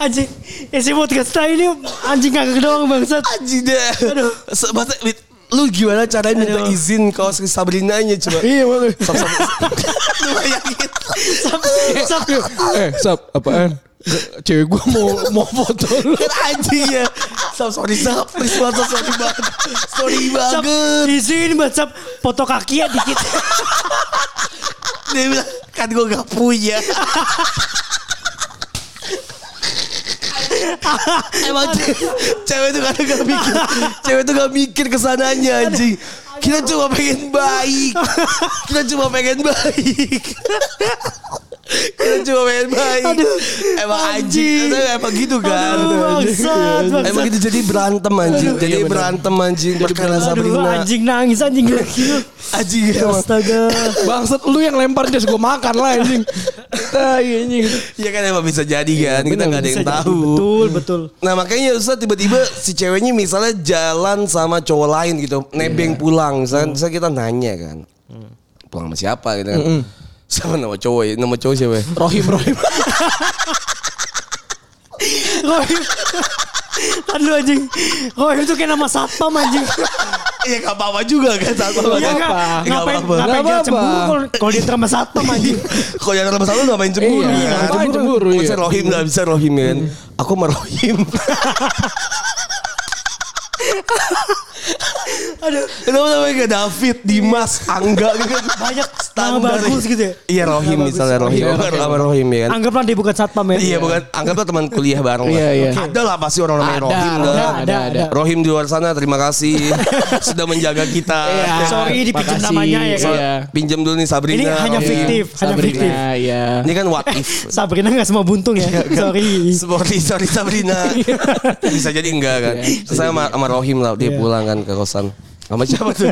Speaker 4: anjing eh si podcast kita ini anjing kagak doang bangsat
Speaker 2: Anjing deh. Aduh. Masa, Mit, lu gimana caranya minta
Speaker 4: Aduh.
Speaker 2: izin kau si Sabrinanya coba.
Speaker 3: Iya, makanya.
Speaker 2: Lu bayangin.
Speaker 4: Sab- sab-
Speaker 3: Eh, sap, apaan? Cewek gua mau mau foto lu.
Speaker 2: Kan anjing ya. Sab, sorry Sab. Please banget, Sab, sorry banget. Sorry
Speaker 4: sab-
Speaker 2: banget.
Speaker 4: izin buat sab foto kaki ya dikit
Speaker 2: Dia bilang, kan gue gak punya. Emang ce- cewek tuh kadang gak mikir Cewek tuh gak mikir kesananya anjing Kita cuma pengen baik Kita cuma pengen baik Kita cuma pengen baik Emang anjing
Speaker 4: anjing.
Speaker 2: Emang gitu kan
Speaker 4: aduh bangsat
Speaker 2: Emang
Speaker 4: bangsat
Speaker 2: gitu Iya, jadi berantem anjing Jadi berantem anjing Perkara
Speaker 4: aduh
Speaker 2: Sabrina Iya,
Speaker 4: anjing nangis anjing gila gila
Speaker 2: Anjing emang
Speaker 4: astaga
Speaker 3: Bangsat lu yang lempar jas gua makan lah anjing. Tai anjing.
Speaker 2: Iya kan emang bisa jadi kan Kita gak ada yang tahu
Speaker 4: betul betul
Speaker 2: Nah makanya Ustaz tiba-tiba si ceweknya misalnya jalan sama cowok lain gitu. Nebeng pulang. Misalnya, misalnya kita nanya kan. Pulang sama siapa gitu kan. Sama nama cowok ya. Nama cowok siapa ya?
Speaker 3: Rohim, Rohim.
Speaker 4: Rohim aduh anjing Rohim tuh kayak nama satpam anjing
Speaker 2: Iya gak apa-apa juga kan. Sama apa
Speaker 4: Iya
Speaker 2: kan.
Speaker 4: nggak?
Speaker 2: Nggak
Speaker 4: Ngapain,
Speaker 2: apa-apa.
Speaker 4: ngapain dia
Speaker 3: Nggak apa-apa.
Speaker 4: cemburu kalau- kalau dia sama satpam anjing.
Speaker 2: Kalau jangan sama satu ngapain cemburu.
Speaker 3: Iya,
Speaker 2: kan?
Speaker 3: ngapain cemburu, iya.
Speaker 2: Bisa rohim lah. Bisa rohim ya kan.
Speaker 4: Iya.
Speaker 2: Aku sama rohim.
Speaker 4: Aduh,
Speaker 2: Kenapa namanya kayak David, Dimas, Angga gitu kan.
Speaker 4: banyak nama bagus gitu ya.
Speaker 2: Iya rohim misalnya rohim.
Speaker 3: Iya,
Speaker 2: Aku
Speaker 3: Rohim.
Speaker 2: sama rohim ya kan.
Speaker 4: Anggaplah dia bukan satpam ya.
Speaker 2: Iya bukan anggaplah teman kuliah bareng lah.
Speaker 3: Iya, iya.
Speaker 2: Ada lah pasti orang-orang yang
Speaker 3: Ada,
Speaker 2: rohim lah.
Speaker 4: Ada,
Speaker 3: Ada,
Speaker 4: ada,
Speaker 3: ada.
Speaker 4: ada.
Speaker 2: Rohim di luar sana terima kasih sudah menjaga kita.
Speaker 3: Iya,
Speaker 4: sorry, dipinjam
Speaker 3: makasih.
Speaker 4: namanya ya kan.
Speaker 3: Iya.
Speaker 2: Pinjam dulu nih Sabrina.
Speaker 4: Ini hanya
Speaker 2: Rohim.
Speaker 4: fiktif, hanya
Speaker 3: Sabrina,
Speaker 4: fiktif.
Speaker 3: Iya.
Speaker 2: Ini kan what if.
Speaker 4: Sabrina gak semua buntung
Speaker 2: Iya,
Speaker 4: ya. Sorry.
Speaker 2: Sorry, sorry Sabrina.
Speaker 3: Iya,
Speaker 2: Bisa jadi enggak kan. Terus saya sama, sama Rohim lah dia pulang kan ke kosan. Sama siapa tuh?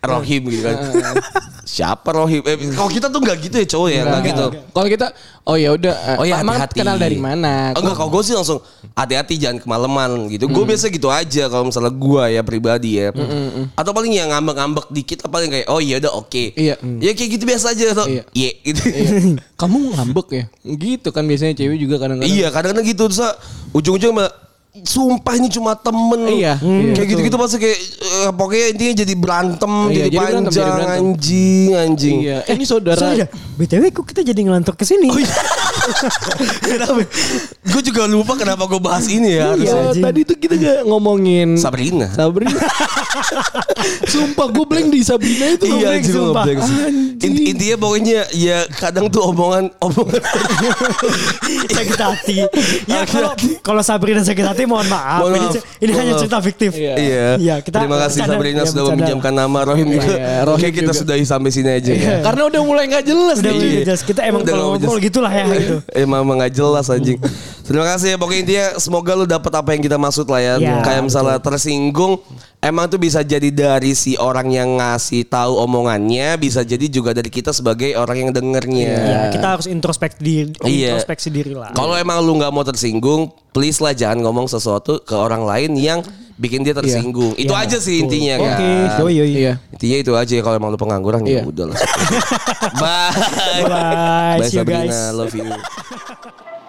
Speaker 2: Rohim gitu kan. Siapa Rohim? Eh, kalau kita tuh nggak gitu ya cowok ya, nggak gitu.
Speaker 3: Kalau kita oh ya udah
Speaker 2: Oh ya
Speaker 3: Emang
Speaker 2: hati-hati.
Speaker 3: kenal dari mana? Hmm.
Speaker 2: Oh, enggak, kalau gue sih langsung hati-hati jangan kemalaman gitu. Gue biasa gitu aja kalau misalnya gue ya pribadi ya. Atau paling yang ngambek-ngambek dikit, atau paling kayak oh iya udah oke.
Speaker 3: Iya.
Speaker 2: Ya kayak gitu biasa aja atau
Speaker 3: Iya.
Speaker 2: iya gitu.
Speaker 3: Iya. Kamu ngambek ya? Gitu kan biasanya cewek juga kadang-kadang.
Speaker 2: Iya kadang-kadang gitu terus ujung-ujung malah, sumpah ini cuma temen
Speaker 3: Iya,
Speaker 2: Hmm.
Speaker 3: iya,
Speaker 2: kayak gitu-gitu pasti kayak eh, pokoknya intinya jadi berantem
Speaker 3: Iya,
Speaker 2: jadi,
Speaker 3: jadi berantem,
Speaker 2: panjang
Speaker 3: jadi berantem.
Speaker 2: anjing anjing
Speaker 3: Iya. Eh, ini saudara.
Speaker 4: Soalnya, BTW kok kita jadi ngelantur ke
Speaker 2: Oh,
Speaker 4: sini?
Speaker 2: iya. gue juga lupa kenapa gue bahas ini ya harusnya.
Speaker 3: Iya, tadi itu kita gak ngomongin
Speaker 2: Sabrina
Speaker 3: Sabrina. Sumpah gue blank di Sabrina itu. gua blank,
Speaker 2: anjing, lu
Speaker 3: sumpah.
Speaker 2: Iya, ngeblank sih. Inti-
Speaker 3: Anjing.
Speaker 2: intinya pokoknya ya kadang tuh omongan omongan
Speaker 4: sakit hati. Ya
Speaker 2: Sakit
Speaker 4: kalau
Speaker 2: hati.
Speaker 4: kalau Sabrina sakit hati mohon maaf.
Speaker 2: Mohon
Speaker 4: ini
Speaker 2: maaf.
Speaker 4: ce- ini
Speaker 2: Mohon
Speaker 4: hanya
Speaker 2: maaf.
Speaker 4: cerita fiktif.
Speaker 3: Iya.
Speaker 4: Iya, kita
Speaker 2: Terima kasih
Speaker 4: bercanda.
Speaker 2: Sabrina
Speaker 4: Iya,
Speaker 2: sudah
Speaker 4: bercanda.
Speaker 2: meminjamkan nama Rohim.
Speaker 3: Iya,
Speaker 2: juga.
Speaker 3: Rohim
Speaker 2: Oke kita
Speaker 3: juga. Iya.
Speaker 2: sudahi sampai sini aja ya.
Speaker 3: Karena udah mulai gak jelas
Speaker 4: Udah
Speaker 3: nih.
Speaker 4: mulai ngejelas. Kita emang
Speaker 2: Udah
Speaker 4: kalau
Speaker 2: nggak
Speaker 4: ngobrol
Speaker 2: ngejelas.
Speaker 4: gitulah ya gitu.
Speaker 2: Emang emang nggak jelas anjing. Terima kasih ya pokoknya intinya semoga lu dapat apa yang kita maksud lah ya.
Speaker 4: Iya,
Speaker 2: Kayak misalnya tersinggung emang tuh bisa jadi dari si orang yang ngasih tahu omongannya, bisa jadi juga dari kita sebagai orang yang dengernya.
Speaker 4: Iya, kita harus introspek di
Speaker 2: Iya.
Speaker 4: introspeksi diri lah.
Speaker 2: Kalau emang lu nggak mau tersinggung, please lah jangan ngomong sesuatu ke orang lain yang bikin dia tersinggung. Itu aja sih intinya kan.
Speaker 4: Iya. Oke, yoi yoi.
Speaker 3: Iya.
Speaker 2: Intinya itu aja ya kalau emang lu pengangguran ya
Speaker 3: Iya.
Speaker 2: udah lah. Bye.
Speaker 4: Bye. See you
Speaker 2: Sabrina.
Speaker 4: guys.
Speaker 2: Love you.